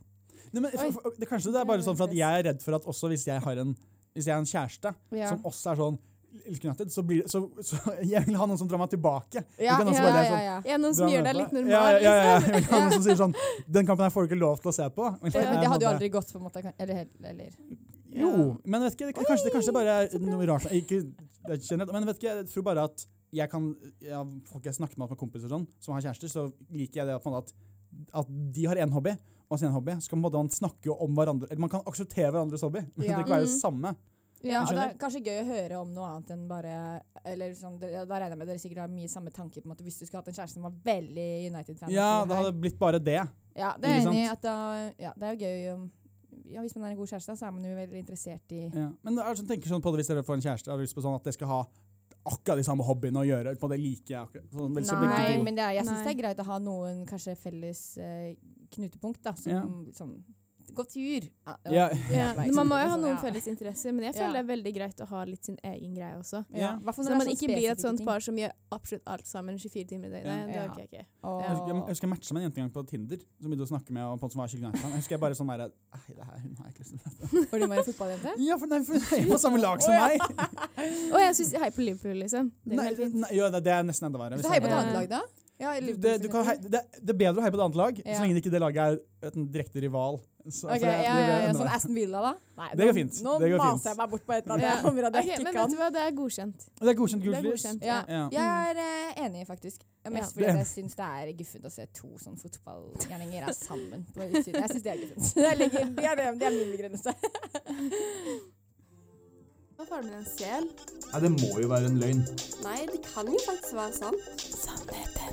Speaker 6: Nei, men, for, for, det, kanskje det er bare sånn for at jeg er redd for at også hvis jeg har en, hvis jeg har en kjæreste
Speaker 5: Ja.
Speaker 6: som også er sånn litt United, så, blir, det- så, så jeg vil ha noen som drar meg tilbake. Du
Speaker 5: Ja,
Speaker 6: kan
Speaker 5: ja,
Speaker 6: også
Speaker 5: ja,
Speaker 6: bare være
Speaker 5: ja,
Speaker 6: sånn,
Speaker 5: ja.
Speaker 1: Ja, noen
Speaker 6: dra
Speaker 1: som gjør
Speaker 6: meg
Speaker 1: deg litt
Speaker 6: tilbake.
Speaker 1: normal. liksom.
Speaker 6: Ja, ja, ja, ja. Jeg vil ha noen som sier sånn Den kampen her får du ikke lov til å se på. Men
Speaker 5: Men det hadde jo
Speaker 6: jeg-
Speaker 5: aldri gått, på en måte. Eller, helt- eller.
Speaker 6: Jo, men vet ikke, det, kanskje, det, kanskje det bare er noe rart. Ikke, det kjenner, jeg- men vet ikke, jeg tror bare at jeg kan, ja, folk jeg snakker med, med kompiser og sånn, som har kjærester, så liker jeg det på en måte at, at de har én hobby, og sin hobby, så kan man, man snakke jo om hverandre, eller man kan akseptere hverandres hobby, men
Speaker 5: Ja.
Speaker 6: det kan være det
Speaker 1: Mhm.
Speaker 6: samme.
Speaker 5: Ja, og
Speaker 6: Jeg
Speaker 5: det er kanskje gøy å høre om noe annet enn bare eller sånn, det- Da regner jeg med dere sikkert har mye samme tanke på en måte, hvis du skulle hatt en kjæreste som var veldig United-fan.
Speaker 6: Ja,
Speaker 5: som
Speaker 6: det
Speaker 5: jeg er.
Speaker 6: hadde blitt bare det.
Speaker 5: ja, det er jeg
Speaker 6: Ikke
Speaker 5: enig i.
Speaker 6: sant?
Speaker 5: At da, ja, det er jo gøy om ja, Hvis man er en god kjæreste, så er man jo veldig interessert i
Speaker 6: Ja. Men er det sånn, tenker sånn på det hvis dere får en kjæreste, har dere lyst på sånn at dere skal ha akkurat de samme hobbyene å gjøre, på det like akkurat. Sånn, vel, så begge
Speaker 5: Nei,
Speaker 6: to-
Speaker 5: men det er, jeg
Speaker 1: Nei.
Speaker 5: syns det er greit å ha noen kanskje felles eh, knutepunkt, da. Som
Speaker 6: Ja.
Speaker 5: sånn Gå tur! Ja, det var-
Speaker 6: Ja.
Speaker 1: Ja,
Speaker 5: det var
Speaker 1: man må jo ha
Speaker 5: sånn,
Speaker 1: noen
Speaker 5: ja.
Speaker 1: felles interesser, men jeg
Speaker 5: Ja.
Speaker 1: føler det er veldig greit å ha litt sin egen greie også.
Speaker 5: Ja. Hvertfall
Speaker 1: Så
Speaker 5: når det er
Speaker 1: man
Speaker 5: sånn
Speaker 1: ikke blir et
Speaker 5: spesifikke
Speaker 1: sånt
Speaker 5: ting.
Speaker 1: par som gjør absolutt alt sammen 24 timer i døgnet. Det
Speaker 5: Ja.
Speaker 1: orker jeg ikke.
Speaker 5: Og-
Speaker 6: Jeg husker, jeg husker jeg matcha med en jente en gang på Tinder. Som begynte å snakke med og på en som var skikkelig nice. Jeg husker jeg bare sånn der, Nei, det her, hun har jeg ikke lyst til.
Speaker 5: For du var en fotballjente?
Speaker 6: Ja, for, nei, for hun er jo på samme lag som meg!
Speaker 1: Og jeg syns hei på Liverpool, liksom. Det er
Speaker 6: Nei,
Speaker 1: helt fint.
Speaker 6: nei, jo, det det er nesten enda verre.
Speaker 5: Så
Speaker 6: hvis
Speaker 5: heier på
Speaker 6: det
Speaker 5: et
Speaker 6: er-
Speaker 5: annet lag, da? Ja, i
Speaker 6: Du-
Speaker 5: Liverpool,
Speaker 6: det, du
Speaker 5: for
Speaker 6: kan,
Speaker 5: eksempel.
Speaker 6: hei- det, det er bedre å heie på et annet lag,
Speaker 5: Ja.
Speaker 6: så lenge det ikke det laget er et en direkte rival.
Speaker 5: Ok, ja, ja,
Speaker 6: Så, for altså, det- det blir
Speaker 5: ja,
Speaker 6: enda
Speaker 5: Sånn
Speaker 6: verre.
Speaker 5: Aston Villa, da? Nei,
Speaker 6: Det går
Speaker 5: nå-
Speaker 6: fint.
Speaker 5: Nå
Speaker 6: Det går
Speaker 5: maser
Speaker 6: fint.
Speaker 5: jeg meg bort på et eller
Speaker 1: Ja.
Speaker 5: annet område jeg
Speaker 1: Ok, men
Speaker 5: ikke
Speaker 1: vet
Speaker 5: kan.
Speaker 1: du hva, det er godkjent.
Speaker 6: Og det er godkjent
Speaker 1: Det er
Speaker 6: gult lys.
Speaker 1: godkjent.
Speaker 5: Ja.
Speaker 6: Ja.
Speaker 5: Jeg er eh, enig, faktisk. Ja, Mest
Speaker 1: Ja.
Speaker 5: fordi at jeg syns det er guffent å se to sånne fotballgjerninger er sammen. På utsiden. jeg syns det er guffent. Det, ligger, det, er, det er min begrunnelse.
Speaker 7: Var faren min en sel?
Speaker 4: Nei, det må jo være en løgn.
Speaker 8: Nei, det kan jo faktisk være sant.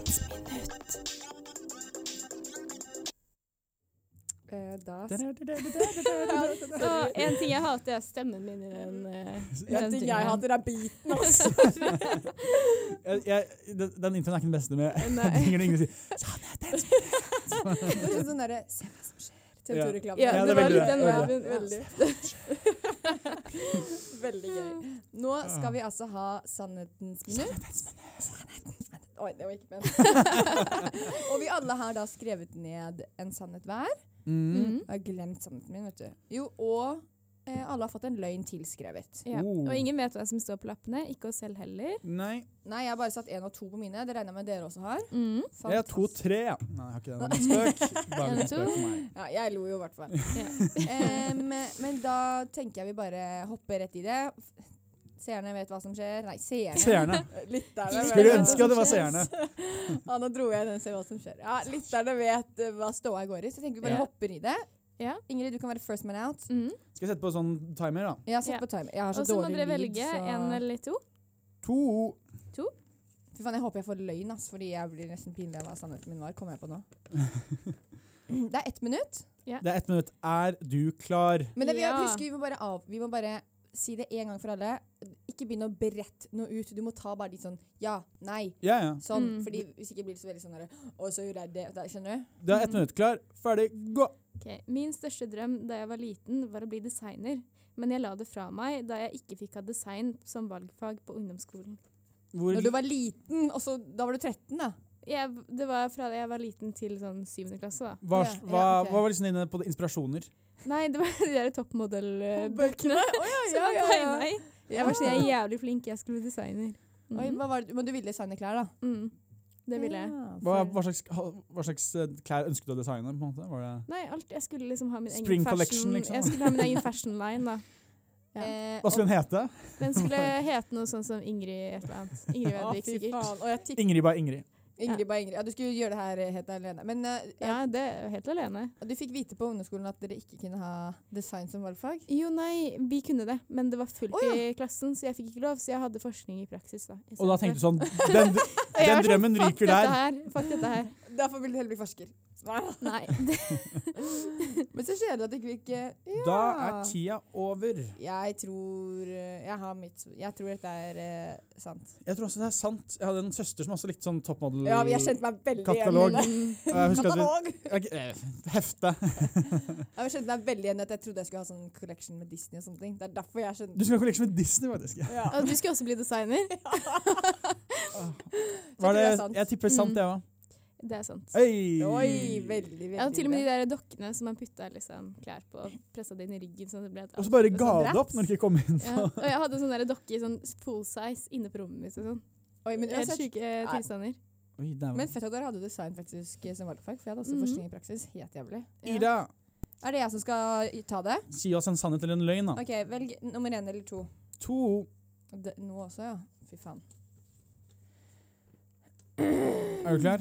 Speaker 1: Eh,
Speaker 5: da
Speaker 1: Så en ting jeg hater, er stemmen min i den eh,
Speaker 5: En ting jeg hater, er beaten. Altså.
Speaker 6: Jeg, jeg, den den introen er ikke den beste med tingene ingen sier.
Speaker 5: Det er sånn sånn derre Se hva som skjer. TV
Speaker 6: Ja.
Speaker 5: 2-reklame.
Speaker 1: Ja, det
Speaker 6: Ja, det er
Speaker 1: var
Speaker 6: veldig
Speaker 1: litt
Speaker 6: det.
Speaker 1: den
Speaker 6: Ja,
Speaker 1: viben. Veldig.
Speaker 5: Veldig gøy. Nå skal vi altså ha Sannhetens minutt. Sannhetens- Oi, det var ikke ment. og vi alle har da skrevet ned en sannhet hver.
Speaker 1: Mm.
Speaker 5: Jeg har glemt sannheten min, vet du. Jo, og eh, alle har fått en løgn tilskrevet.
Speaker 1: Ja.
Speaker 6: Oh.
Speaker 1: Og ingen vet hva som står på lappene. Ikke oss selv heller.
Speaker 6: Nei,
Speaker 5: Nei, jeg har bare satt én og to på mine. Det regner jeg med dere også har.
Speaker 1: Mm.
Speaker 6: jeg har to-tre. ja. Nei, jeg har ikke det. Det var en spøk. Bare en
Speaker 1: En,
Speaker 6: spøk for meg.
Speaker 5: Ja, jeg lo jo i hvert fall. Em, men da tenker jeg vi bare hopper rett i det. Seerne vet hva som skjer. Nei, seerne.
Speaker 6: Seerne.
Speaker 5: Lytterne vet
Speaker 6: Skulle
Speaker 5: hva
Speaker 6: ønske at det
Speaker 5: som
Speaker 6: var
Speaker 5: skjer.
Speaker 6: seerne.
Speaker 5: Ja, nå dro jeg den, ser hva som skjer. Ja, Lytterne vet eh, hva ståa går i, så jeg tenker vi bare
Speaker 6: Ja.
Speaker 5: hopper i det.
Speaker 1: Ja.
Speaker 5: Ingrid, du kan være first man out.
Speaker 1: Mm.
Speaker 6: Skal jeg sette på sånn timer, da?
Speaker 5: Jeg har satt
Speaker 1: Ja.
Speaker 5: på timer. Jeg har så
Speaker 1: Og så må
Speaker 5: dårlig
Speaker 1: dere
Speaker 5: lyd,
Speaker 1: velge
Speaker 5: så-
Speaker 1: en eller to.
Speaker 6: To.
Speaker 5: Fy faen, jeg håper jeg får løgn, ass, fordi jeg blir nesten pinlig av hva sannheten min var. Kommer jeg på nå. Det er ett minutt.
Speaker 6: Det er ett minutt. Er du klar?
Speaker 5: Men det, vi,
Speaker 1: Ja.
Speaker 5: husker, vi, må bare av, vi må bare si det en gang for alle. Ikke begynn å berette noe ut. Du må ta bare de sånn ja, nei,
Speaker 6: Ja, ja.
Speaker 5: sånn.
Speaker 1: Mm.
Speaker 5: Fordi hvis ikke blir det så veldig sånn derre Å, så gjorde jeg det. Da, skjønner du?
Speaker 6: Det er ett minutt. Klar, ferdig, gå!
Speaker 1: Ok, Min største drøm da jeg var liten, var å bli designer. Men jeg la det fra meg da jeg ikke fikk ha design som valgfag på ungdomsskolen.
Speaker 6: Hvor
Speaker 5: Når du var liten, og så Da var du 13, da.
Speaker 1: Jeg, det var fra da jeg var liten til sånn syvende klasse, da.
Speaker 6: Hva,
Speaker 5: Ja, ja,
Speaker 6: hva,
Speaker 5: ok.
Speaker 6: hva var liksom dine på inspirasjoner?
Speaker 1: Nei, det var de der toppmodellbøkene som var tegna i. Jeg var sånn, jeg er jævlig flink, jeg skulle bli designer.
Speaker 5: Oi, hva var det? Men du ville designe klær, da?
Speaker 1: Mm. Det ville jeg.
Speaker 5: Ja,
Speaker 6: Hva,
Speaker 5: for-
Speaker 6: hva, slags, hva slags eh, klær ønsket du å designe? på en måte? Var det...
Speaker 1: Nei, alt, jeg skulle liksom ha min egen
Speaker 6: Spring collection,
Speaker 1: fashion
Speaker 6: liksom.
Speaker 1: Jeg skulle ha min egen fashion line, da.
Speaker 5: Ja.
Speaker 1: Eh,
Speaker 6: Hva skulle den hete?
Speaker 1: og den skulle hete noe sånn som Ingrid et eller annet. Ingrid
Speaker 5: Å,
Speaker 1: Vedvik,
Speaker 5: fy
Speaker 1: sikkert.
Speaker 5: faen. Og jeg tipper
Speaker 6: Ingrid by Ingrid.
Speaker 5: Ingrid bare Ingrid. Ja, du skulle gjøre det her eh, helt alene. Men eh, ja,
Speaker 1: Ja, det er jo helt alene.
Speaker 5: du fikk vite på ungdomsskolen at dere ikke kunne ha design som valgfag?
Speaker 1: Jo, nei, vi kunne det, men det var fullt
Speaker 5: Å, ja.
Speaker 1: i klassen, så jeg fikk ikke lov. Så jeg hadde forskning i praksis, da.
Speaker 6: Og da tenkte du sånn Den, den drømmen ryker der.
Speaker 1: Fuck dette her.
Speaker 5: Derfor vil du heller bli forsker.
Speaker 1: Nei. Det,
Speaker 5: Men så skjer det at du ikke fikk eh, ja.
Speaker 6: Da er tida over.
Speaker 5: Jeg tror eh, Jeg har mitt Jeg tror dette er eh, sant.
Speaker 6: Jeg tror også det er sant. Jeg hadde en søster som også likte sånn toppmodell...
Speaker 5: Ja, men jeg kjente meg veldig
Speaker 6: Katalog.
Speaker 5: igjen i det.
Speaker 6: Og jeg husker at vi-
Speaker 5: Katalog!
Speaker 6: Ok, eh, Hefte.
Speaker 5: Ja, Jeg kjente meg veldig igjen i at jeg trodde jeg skulle ha sånn collection med Disney og sånne ting. Det er derfor jeg
Speaker 6: Du
Speaker 5: skjønte
Speaker 6: skal ha kolleksjon med Disney, faktisk.
Speaker 5: ja.
Speaker 1: og du skulle også bli designer.
Speaker 6: Var det,
Speaker 5: det er sant. Mm.
Speaker 6: jeg tipper sant, jeg òg.
Speaker 1: Det er sant.
Speaker 5: Oi,
Speaker 6: Øy!
Speaker 5: veldig, veldig
Speaker 1: Ja, og til og med de der dokkene som man putta liksom, klær på og pressa det inn i ryggen. Sånn at det ble et
Speaker 6: Og så bare
Speaker 1: ansikt
Speaker 6: ga
Speaker 1: sånn.
Speaker 6: det opp når det ikke kom inn.
Speaker 1: Ja. Og jeg hadde en sånn der dokke i sånn full size inne på rommet mitt. og sånn.
Speaker 5: Oi, men,
Speaker 1: Helt
Speaker 5: uansett,
Speaker 1: syke eh, tilstander.
Speaker 6: Oi, dæven.
Speaker 5: men fett at dere hadde design faktisk som valgfag, for jeg hadde også
Speaker 1: Mhm.
Speaker 5: forskning i praksis. Helt jævlig.
Speaker 6: Ida,
Speaker 5: Er det jeg som skal ta det?
Speaker 6: si oss en sannhet eller en løgn, da.
Speaker 5: Ok, Velg nummer én eller to.
Speaker 6: To.
Speaker 5: Det, nå også, ja. Fy faen.
Speaker 6: Er du klar?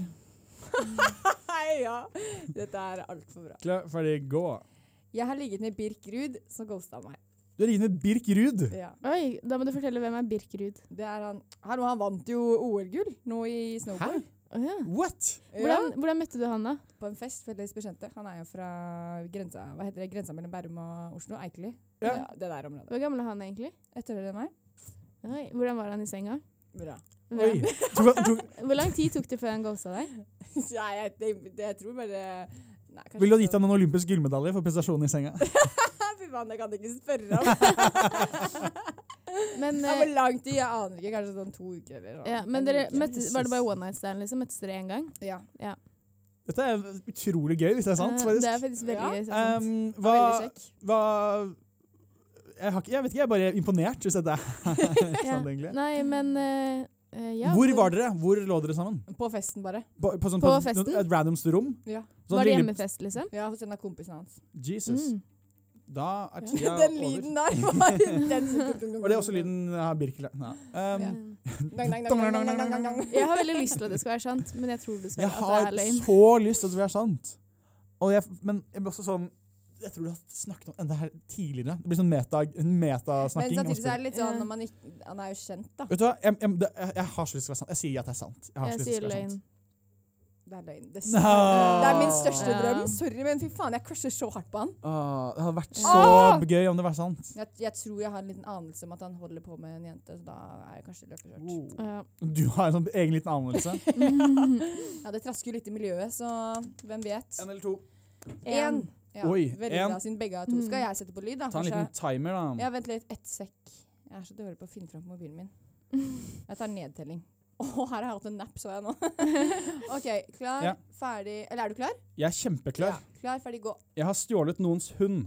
Speaker 5: Hei, ja. Dette er altfor bra.
Speaker 6: Klar, ferdig, gå.
Speaker 5: Jeg har ligget med Birk Ruud, som ghosta meg.
Speaker 6: Du er lignende Birk Ruud.
Speaker 5: Ja.
Speaker 1: Oi, da må du fortelle hvem er Birkerud.
Speaker 5: Det er han. Hallo, han vant jo OL-gull nå i snowboard.
Speaker 1: Å ja.
Speaker 6: What?
Speaker 5: Ja,
Speaker 1: hvordan, hvordan møtte du han, da?
Speaker 5: på en fest, felles bekjente. Han er jo fra grensa, hva heter det, grensa mellom Bærum og Oslo, Eikeli.
Speaker 6: Ja.
Speaker 5: det der området.
Speaker 1: Hvor gammel er han egentlig?
Speaker 5: Et år eldre enn meg.
Speaker 1: Oi, hvordan var han i senga?
Speaker 5: Bra.
Speaker 6: Oi. Tok, tok,
Speaker 1: Hvor lang tid tok det før han ghosta deg?
Speaker 5: Nei, jeg, det, det, jeg tror bare Nei, kanskje
Speaker 6: ville du ha
Speaker 5: ikke
Speaker 6: gitt ham en olympisk gullmedalje for prestasjonen i senga?
Speaker 5: sånn. Fy faen, det kan jeg ikke spørre om.
Speaker 1: Men,
Speaker 5: Det
Speaker 1: eh,
Speaker 5: var lang tid, jeg aner ikke. Kanskje sånn to uker eller noe.
Speaker 1: ja, men
Speaker 5: En
Speaker 1: dere
Speaker 5: uke.
Speaker 1: møttes, var det bare one night stand, liksom? Møttes dere én gang?
Speaker 5: Ja.
Speaker 6: Dette er utrolig gøy, hvis det er sant.
Speaker 1: Eh,
Speaker 6: faktisk.
Speaker 1: det er faktisk veldig
Speaker 5: Ja.
Speaker 1: gøy. sant?
Speaker 6: Um,
Speaker 5: Det var
Speaker 6: hva,
Speaker 5: Veldig kjekk.
Speaker 6: hva jeg, har ikke, jeg vet ikke, jeg er bare imponert, hvis dette er
Speaker 1: Ja.
Speaker 6: sant, egentlig.
Speaker 1: Nei, men eh, eh, ja,
Speaker 6: Hvor var dere? Hvor lå dere sammen?
Speaker 5: På festen, bare.
Speaker 6: På, på, sånn,
Speaker 1: På
Speaker 6: et-
Speaker 1: festen?
Speaker 6: Et randoms rom?
Speaker 5: Ja.
Speaker 1: Var det
Speaker 6: lille-
Speaker 1: hjemmefest, liksom?
Speaker 5: Ja, Hos en av kompisene hans.
Speaker 6: Sånn Jesus.
Speaker 1: Mm.
Speaker 6: Da er tida
Speaker 5: Den
Speaker 6: over.
Speaker 5: lyden der var den som-
Speaker 6: Og det er også lyden av Birk Lang- Nei. Um,
Speaker 5: Ja. Dang, dang, dang, dang, dang, dang, dang.
Speaker 6: Jeg
Speaker 1: Jeg har veldig lyst til at det skal være sant, men jeg tror dessverre at det
Speaker 6: har
Speaker 1: er løgn.
Speaker 6: så lyst til at det er sant. Og jeg, men jeg blir også sånn Jeg tror du har snakket om det her tidligere. Det blir sånn meta, en
Speaker 5: Men
Speaker 6: metasnakking. om
Speaker 5: samtidig så
Speaker 6: spill.
Speaker 5: er det litt sånn når man ikke Han er jo kjent, da.
Speaker 6: Vet du hva? Jeg, jeg, det- jeg, jeg har så lyst til å være sant. Jeg sier at det er sant. Jeg har
Speaker 1: Jeg
Speaker 6: så lyst til
Speaker 1: sier
Speaker 6: å være
Speaker 1: løgn.
Speaker 6: sant.
Speaker 5: Det er løgn. Det,
Speaker 6: Nå.
Speaker 5: det er min største
Speaker 1: Ja.
Speaker 5: drøm. Sorry, men fy faen, jeg crusher så hardt på han.
Speaker 6: Åh, det hadde vært så
Speaker 5: Åh!
Speaker 6: gøy om det var sant.
Speaker 5: Jeg, jeg tror jeg har en liten anelse om at han holder på med en jente, så da er jeg kanskje løpeskjørt.
Speaker 6: Uh.
Speaker 1: Ja.
Speaker 6: Du har en sånn egen liten anelse.
Speaker 5: Ja, det trasker jo litt i miljøet, så hvem vet.
Speaker 6: En eller to.
Speaker 5: Én. Ja,
Speaker 6: Oi,
Speaker 5: veldig
Speaker 6: en. Mm.
Speaker 5: bra, siden begge har to. Skal jeg sette på lyd, da?
Speaker 6: Ta en liten
Speaker 5: Kanskje?
Speaker 6: timer, da.
Speaker 5: Ja, vent litt. Ett sekk. Jeg er så dårlig på å finne fram på mobilen min. Jeg tar nedtelling. Å, her har jeg hatt en napp, så jeg nå. OK, klar,
Speaker 6: Ja.
Speaker 5: ferdig Eller er du klar?
Speaker 6: Jeg er kjempeklar.
Speaker 5: Ja. Klar, ferdig, gå.
Speaker 6: Jeg har stjålet noens hund.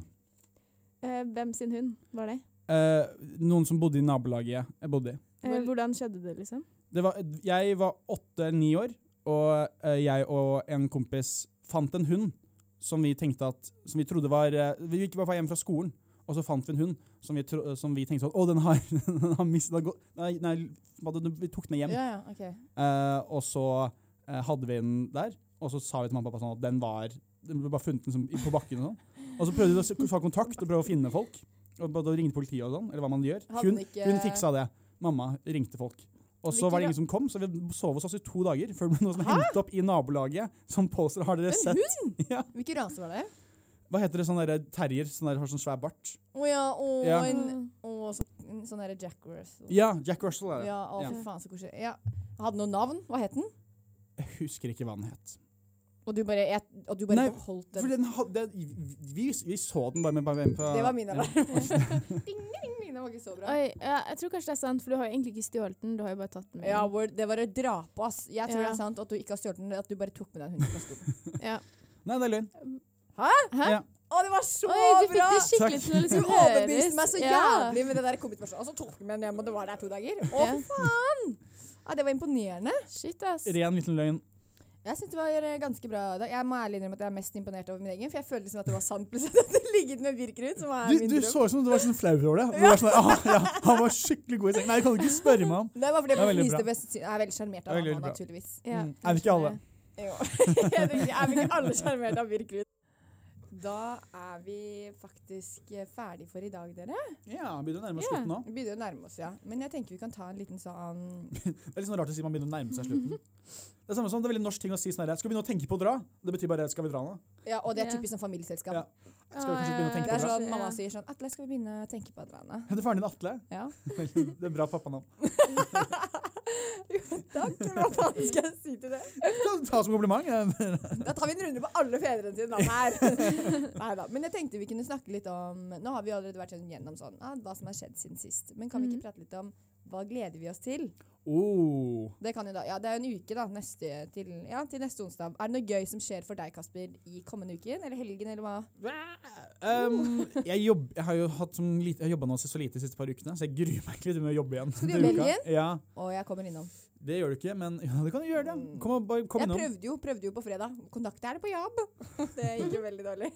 Speaker 1: Eh, hvem sin hund var det?
Speaker 6: Eh, noen som bodde i nabolaget jeg- jeg bodde i.
Speaker 1: Eh, hvordan skjedde det, liksom?
Speaker 6: Det var, jeg var åtte-ni år, og eh, jeg og en kompis fant en hund som vi tenkte at, som vi trodde var eh, Vi gikk bare hjem fra skolen, og så fant vi en hund som vi, tro, som vi tenkte sånn Å, den har, den har mistet den har gått- Nei, nei, hva det- vi tok den med hjem.
Speaker 5: Ja, ja, OK.
Speaker 6: Eh, og så eh, hadde vi den der, og så sa vi til mamma og pappa sånn at den var den ble bare funnet liksom, i- på bakken. Og sånn. Og så prøvde vi å s- ta kontakt og prøve å finne folk. Og både ringte politiet og sånn, eller hva man gjør.
Speaker 5: Hadde
Speaker 6: Hun,
Speaker 5: den ikke-
Speaker 6: hun fiksa det. Mamma ringte folk. Og så
Speaker 5: Hvilken
Speaker 6: var
Speaker 5: da-
Speaker 6: det ingen som kom, så vi sov hos oss i to dager før det ble noen som hentet opp i nabolaget som påstår Har dere sett Ja.
Speaker 5: Hvilken rase var det?
Speaker 6: Hva heter det sånn derre terrier? Sånn der har sånn svær bart?
Speaker 5: Å ja, å,
Speaker 6: Ja.
Speaker 5: en, å så, en sånn derre Jack Russell.
Speaker 6: Ja, Jack Russell er det.
Speaker 5: Ja, å,
Speaker 6: Ja.
Speaker 5: fy faen, så koselig. Ja. Han Hadde noe navn? Hva het den?
Speaker 6: Jeg husker ikke hva den het.
Speaker 5: Og du bare, jeg, og du bare
Speaker 6: Nei,
Speaker 5: beholdt
Speaker 6: For
Speaker 5: den.
Speaker 6: den hadde, vi, vi så den bare med bare med på
Speaker 5: Det var min
Speaker 6: Ja.
Speaker 5: alarm. ding, ding, ding, den var ikke så bra.
Speaker 1: Oi, ja, jeg tror kanskje det er sant, for du har jo egentlig ikke stjålet den, du har jo bare tatt den med.
Speaker 5: Ja, word, det var et drap, ass. Jeg tror
Speaker 1: Ja.
Speaker 5: det er sant at du ikke har stjålet den, at du bare tok med deg en hund fra skolen.
Speaker 6: Nei, det er løgn.
Speaker 5: Å, det var så
Speaker 1: Oi, du fikk
Speaker 5: bra!
Speaker 1: det skikkelig
Speaker 6: Takk.
Speaker 1: til å
Speaker 5: Du
Speaker 1: liksom
Speaker 5: overbeviste
Speaker 1: høres.
Speaker 5: meg så
Speaker 1: Ja.
Speaker 5: jævlig med det der kommitspørsmålet. Og så tok du med den hjem, og det var der to dager. Å,
Speaker 1: Ja.
Speaker 5: fy faen! Ja, det var imponerende.
Speaker 1: Shit, ass.
Speaker 6: Ren liten løgn.
Speaker 5: Jeg synes det var eh, ganske bra i dag. Jeg må ærlig innrømme at jeg er mest imponert over min egen, for jeg føler liksom at det var sant. Plutselig at det ligget med Birkerud, som er
Speaker 6: Du,
Speaker 5: min
Speaker 6: du
Speaker 5: drøm.
Speaker 6: så ut som du var sånn flau over det. Du var sånn, ah, ja, han var skikkelig god i sengen. Nei, jeg kan ikke spørre meg om.
Speaker 5: Det var fordi
Speaker 6: Det er
Speaker 5: jeg
Speaker 6: veldig
Speaker 5: fliste
Speaker 6: bra.
Speaker 5: best. Jeg er veldig sjarmert av
Speaker 6: Det er veldig
Speaker 5: ham,
Speaker 6: bra.
Speaker 5: naturligvis.
Speaker 1: Ja,
Speaker 6: Mm. Er vi ikke alle?
Speaker 5: Jo. jeg tenker, er vi ikke alle sjarmert av Birkerud? Da er vi faktisk eh, ferdig for i dag, dere.
Speaker 6: Ja, begynner å nærme oss
Speaker 1: Ja.
Speaker 6: slutten nå.
Speaker 5: Vi begynner å nærme oss, ja. Men jeg tenker vi kan ta en liten sånn
Speaker 6: Det er litt sånn rart å si man begynner å nærme seg slutten. Det er samme som det er veldig norsk ting å si sånn her. Skal vi begynne å tenke på å dra? Det betyr bare skal vi dra nå?
Speaker 5: Ja, og det er
Speaker 1: Ja.
Speaker 5: typisk sånn familieselskap.
Speaker 6: Ja. Skal vi kanskje begynne
Speaker 5: Det
Speaker 6: å tenke
Speaker 5: er
Speaker 6: på å dra?
Speaker 5: sånn mamma sier sånn Atle, skal vi begynne å tenke på hverandre?
Speaker 6: Heter faren din Atle?
Speaker 5: Ja.
Speaker 6: Det er bra pappanavn.
Speaker 5: Takk, hva faen skal jeg si til det?
Speaker 6: Ta som kompliment. eh.
Speaker 5: Da tar vi en runde på alle fedrene sine navn her. Neida, Men jeg tenkte vi kunne snakke litt om Nå har vi allerede vært sånn gjennom sånn ah, hva som har skjedd siden sist. Men kan vi ikke prate litt om hva gleder vi oss til?
Speaker 6: Oh.
Speaker 5: Det kan jo da, ja, det er jo en uke da, neste, til, ja, til neste onsdag. Er det noe gøy som skjer for deg, Kasper, i kommende uken? Eller helgen, eller hva?
Speaker 6: Um, jeg, jobb, jeg har jo hatt sånn lite, jeg har jobba nå så lite de siste par ukene, så jeg gruer meg ikke litt med å jobbe igjen.
Speaker 5: Skal du
Speaker 6: til
Speaker 5: jobbe
Speaker 6: uka.
Speaker 5: igjen?
Speaker 6: Ja,
Speaker 5: Og jeg kommer innom.
Speaker 6: Det gjør du ikke, men ja, det kan du gjøre. det. Kom, og bare, kom
Speaker 5: Mm. Jeg
Speaker 6: innom.
Speaker 5: prøvde jo, prøvde jo på fredag. Kontakt er det på jobb. Det gikk jo veldig dårlig.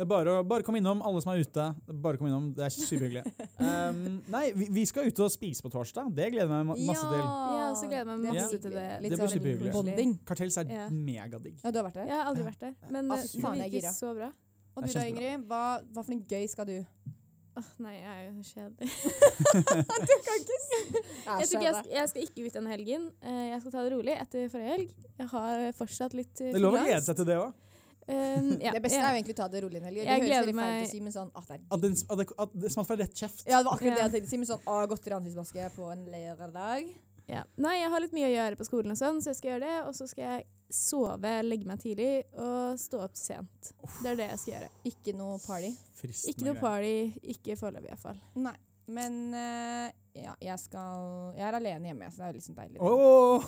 Speaker 6: Det er bare, å- bare kom innom, alle som er ute. Bare kom innom, Det er superhyggelig. Um, nei, vi, vi skal ut og spise på torsdag. Det gleder jeg meg ma- masse til.
Speaker 1: Ja, så gleder jeg meg
Speaker 5: Det er
Speaker 1: masse til det.
Speaker 5: hyggelig.
Speaker 6: Det blir
Speaker 1: sånn
Speaker 6: superhyggelig.
Speaker 5: Bonding.
Speaker 6: Kartels er
Speaker 1: Ja.
Speaker 6: megadigg.
Speaker 5: Ja, du har vært der.
Speaker 1: Jeg har aldri vært der, men
Speaker 5: Ah,
Speaker 1: eh,
Speaker 5: faen,
Speaker 1: det
Speaker 5: jeg er gira.
Speaker 1: virker så bra.
Speaker 5: Og du
Speaker 6: Det er
Speaker 5: da,
Speaker 6: kjempebra.
Speaker 5: Ingrid? Hva, hva for noe gøy skal du?
Speaker 1: Åh, nei, jeg er jo kjedelig.
Speaker 5: Jeg
Speaker 1: Jeg, tror ikke jeg, skal, jeg skal ikke ut denne helgen. Eh, Jeg skal ta det rolig etter forrige helg. Jeg har fortsatt litt eh,
Speaker 6: Det er lov å glede
Speaker 1: frilans.
Speaker 6: seg til det òg.
Speaker 1: Um, ja,
Speaker 5: Det beste
Speaker 1: ja.
Speaker 5: er jo egentlig å ta det rolig en helg. Det
Speaker 1: Jeg
Speaker 5: høres
Speaker 1: gleder
Speaker 5: veldig feil
Speaker 1: meg-
Speaker 5: ut å si, men sånn ah, det er
Speaker 6: At, den, at, det, at det smalt fra rett kjeft.
Speaker 5: Ja, det var akkurat det
Speaker 1: Ja.
Speaker 5: jeg tenkte å si, men sånn ah, godteri og ansiktsmaske på en lørdag.
Speaker 1: Ja. Nei, jeg har litt mye å gjøre på skolen, og sånn, så jeg skal gjøre det. Og så skal jeg sove, legge meg tidlig og stå opp sent. Det er det jeg skal gjøre.
Speaker 5: Ikke noe party.
Speaker 6: Fristende
Speaker 1: Ikke noe
Speaker 6: greier.
Speaker 1: party, ikke foreløpig iallfall.
Speaker 5: Nei. Men eh, ja, jeg skal Jeg er alene hjemme, så det er jo liksom deilig.
Speaker 6: Åh,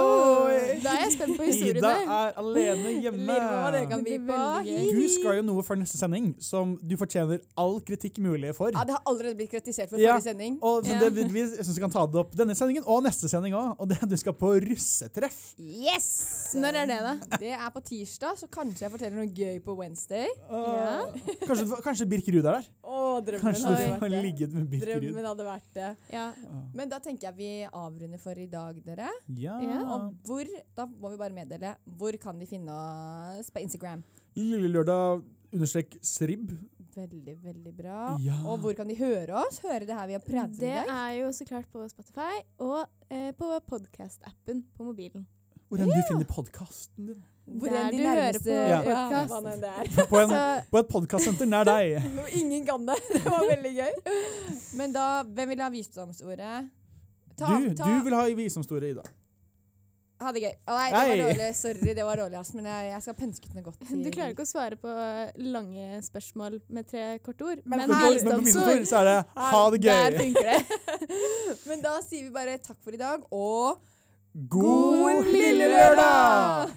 Speaker 6: oi.
Speaker 1: Da er jeg spent på
Speaker 6: Ida
Speaker 1: historiene.
Speaker 6: er alene hjemme.
Speaker 5: Lurer på hva det kan bli
Speaker 1: Det var
Speaker 5: veldig gøy.
Speaker 6: Du skal jo noe før neste sending som du fortjener all kritikk mulig for.
Speaker 5: Ja, det har allerede blitt kritisert for
Speaker 6: Ja.
Speaker 5: forrige sending.
Speaker 6: Og så
Speaker 1: Ja.
Speaker 6: det, vi, vi, jeg synes vi kan ta det opp denne sendingen og neste sending òg. Og det er at du skal på russetreff.
Speaker 5: Yes!
Speaker 1: Når er det, da?
Speaker 5: Det er på tirsdag, så kanskje jeg forteller noe gøy på Wednesday.
Speaker 1: Ja.
Speaker 6: Kanskje, du- kanskje Birk Ruud er der?
Speaker 5: Å, drømmen
Speaker 6: Kanskje
Speaker 5: hadde
Speaker 6: du
Speaker 5: vært
Speaker 6: har
Speaker 5: det.
Speaker 6: ligget med Birk Ruud?
Speaker 5: Drømmen hadde vært det.
Speaker 1: Ja.
Speaker 5: Men da tenker jeg vi avrunder for i dag, dere.
Speaker 6: Ja.
Speaker 1: Ja.
Speaker 5: Og hvor, da må vi bare meddele, hvor kan de finne oss på Instagram?
Speaker 6: Lille lørdag understrek srib.
Speaker 5: Veldig, veldig bra.
Speaker 6: Ja.
Speaker 5: Og hvor kan de høre oss? Høre det her vi har pratet om i
Speaker 1: Det
Speaker 5: dag?
Speaker 1: er jo så klart på Spotify og eh, på podcast-appen på mobilen.
Speaker 6: Hvor enn du finner podkasten din.
Speaker 5: Hvor
Speaker 1: Der
Speaker 5: enn de
Speaker 1: du hører
Speaker 5: nærmeste
Speaker 1: på
Speaker 5: ja.
Speaker 1: podcast.
Speaker 5: hva nå enn det er.
Speaker 6: På, en,
Speaker 1: Så
Speaker 6: på et podkastsenter nær deg.
Speaker 5: Hvor Ingen kan det. Det var veldig gøy. Men da, hvem vil ha visdomsordet? Ta,
Speaker 6: Du,
Speaker 5: ta.
Speaker 6: du vil ha i visdomsstoret, Ida.
Speaker 5: Ha det gøy. Å, nei, det var
Speaker 6: Hei.
Speaker 5: dårlig. Sorry, det var dårlig, ass. Men jeg, jeg skal pønske ut noe godt.
Speaker 1: du klarer ikke å svare på lange spørsmål med tre korte ord,
Speaker 5: Men
Speaker 1: men
Speaker 6: Men på,
Speaker 5: her-
Speaker 6: men på
Speaker 1: visdomsord,
Speaker 6: visdomsstoret så er det ha det
Speaker 1: der
Speaker 6: gøy.
Speaker 1: funker det.
Speaker 5: Men da sier vi bare takk for i dag, og
Speaker 6: God
Speaker 5: lille lørdag!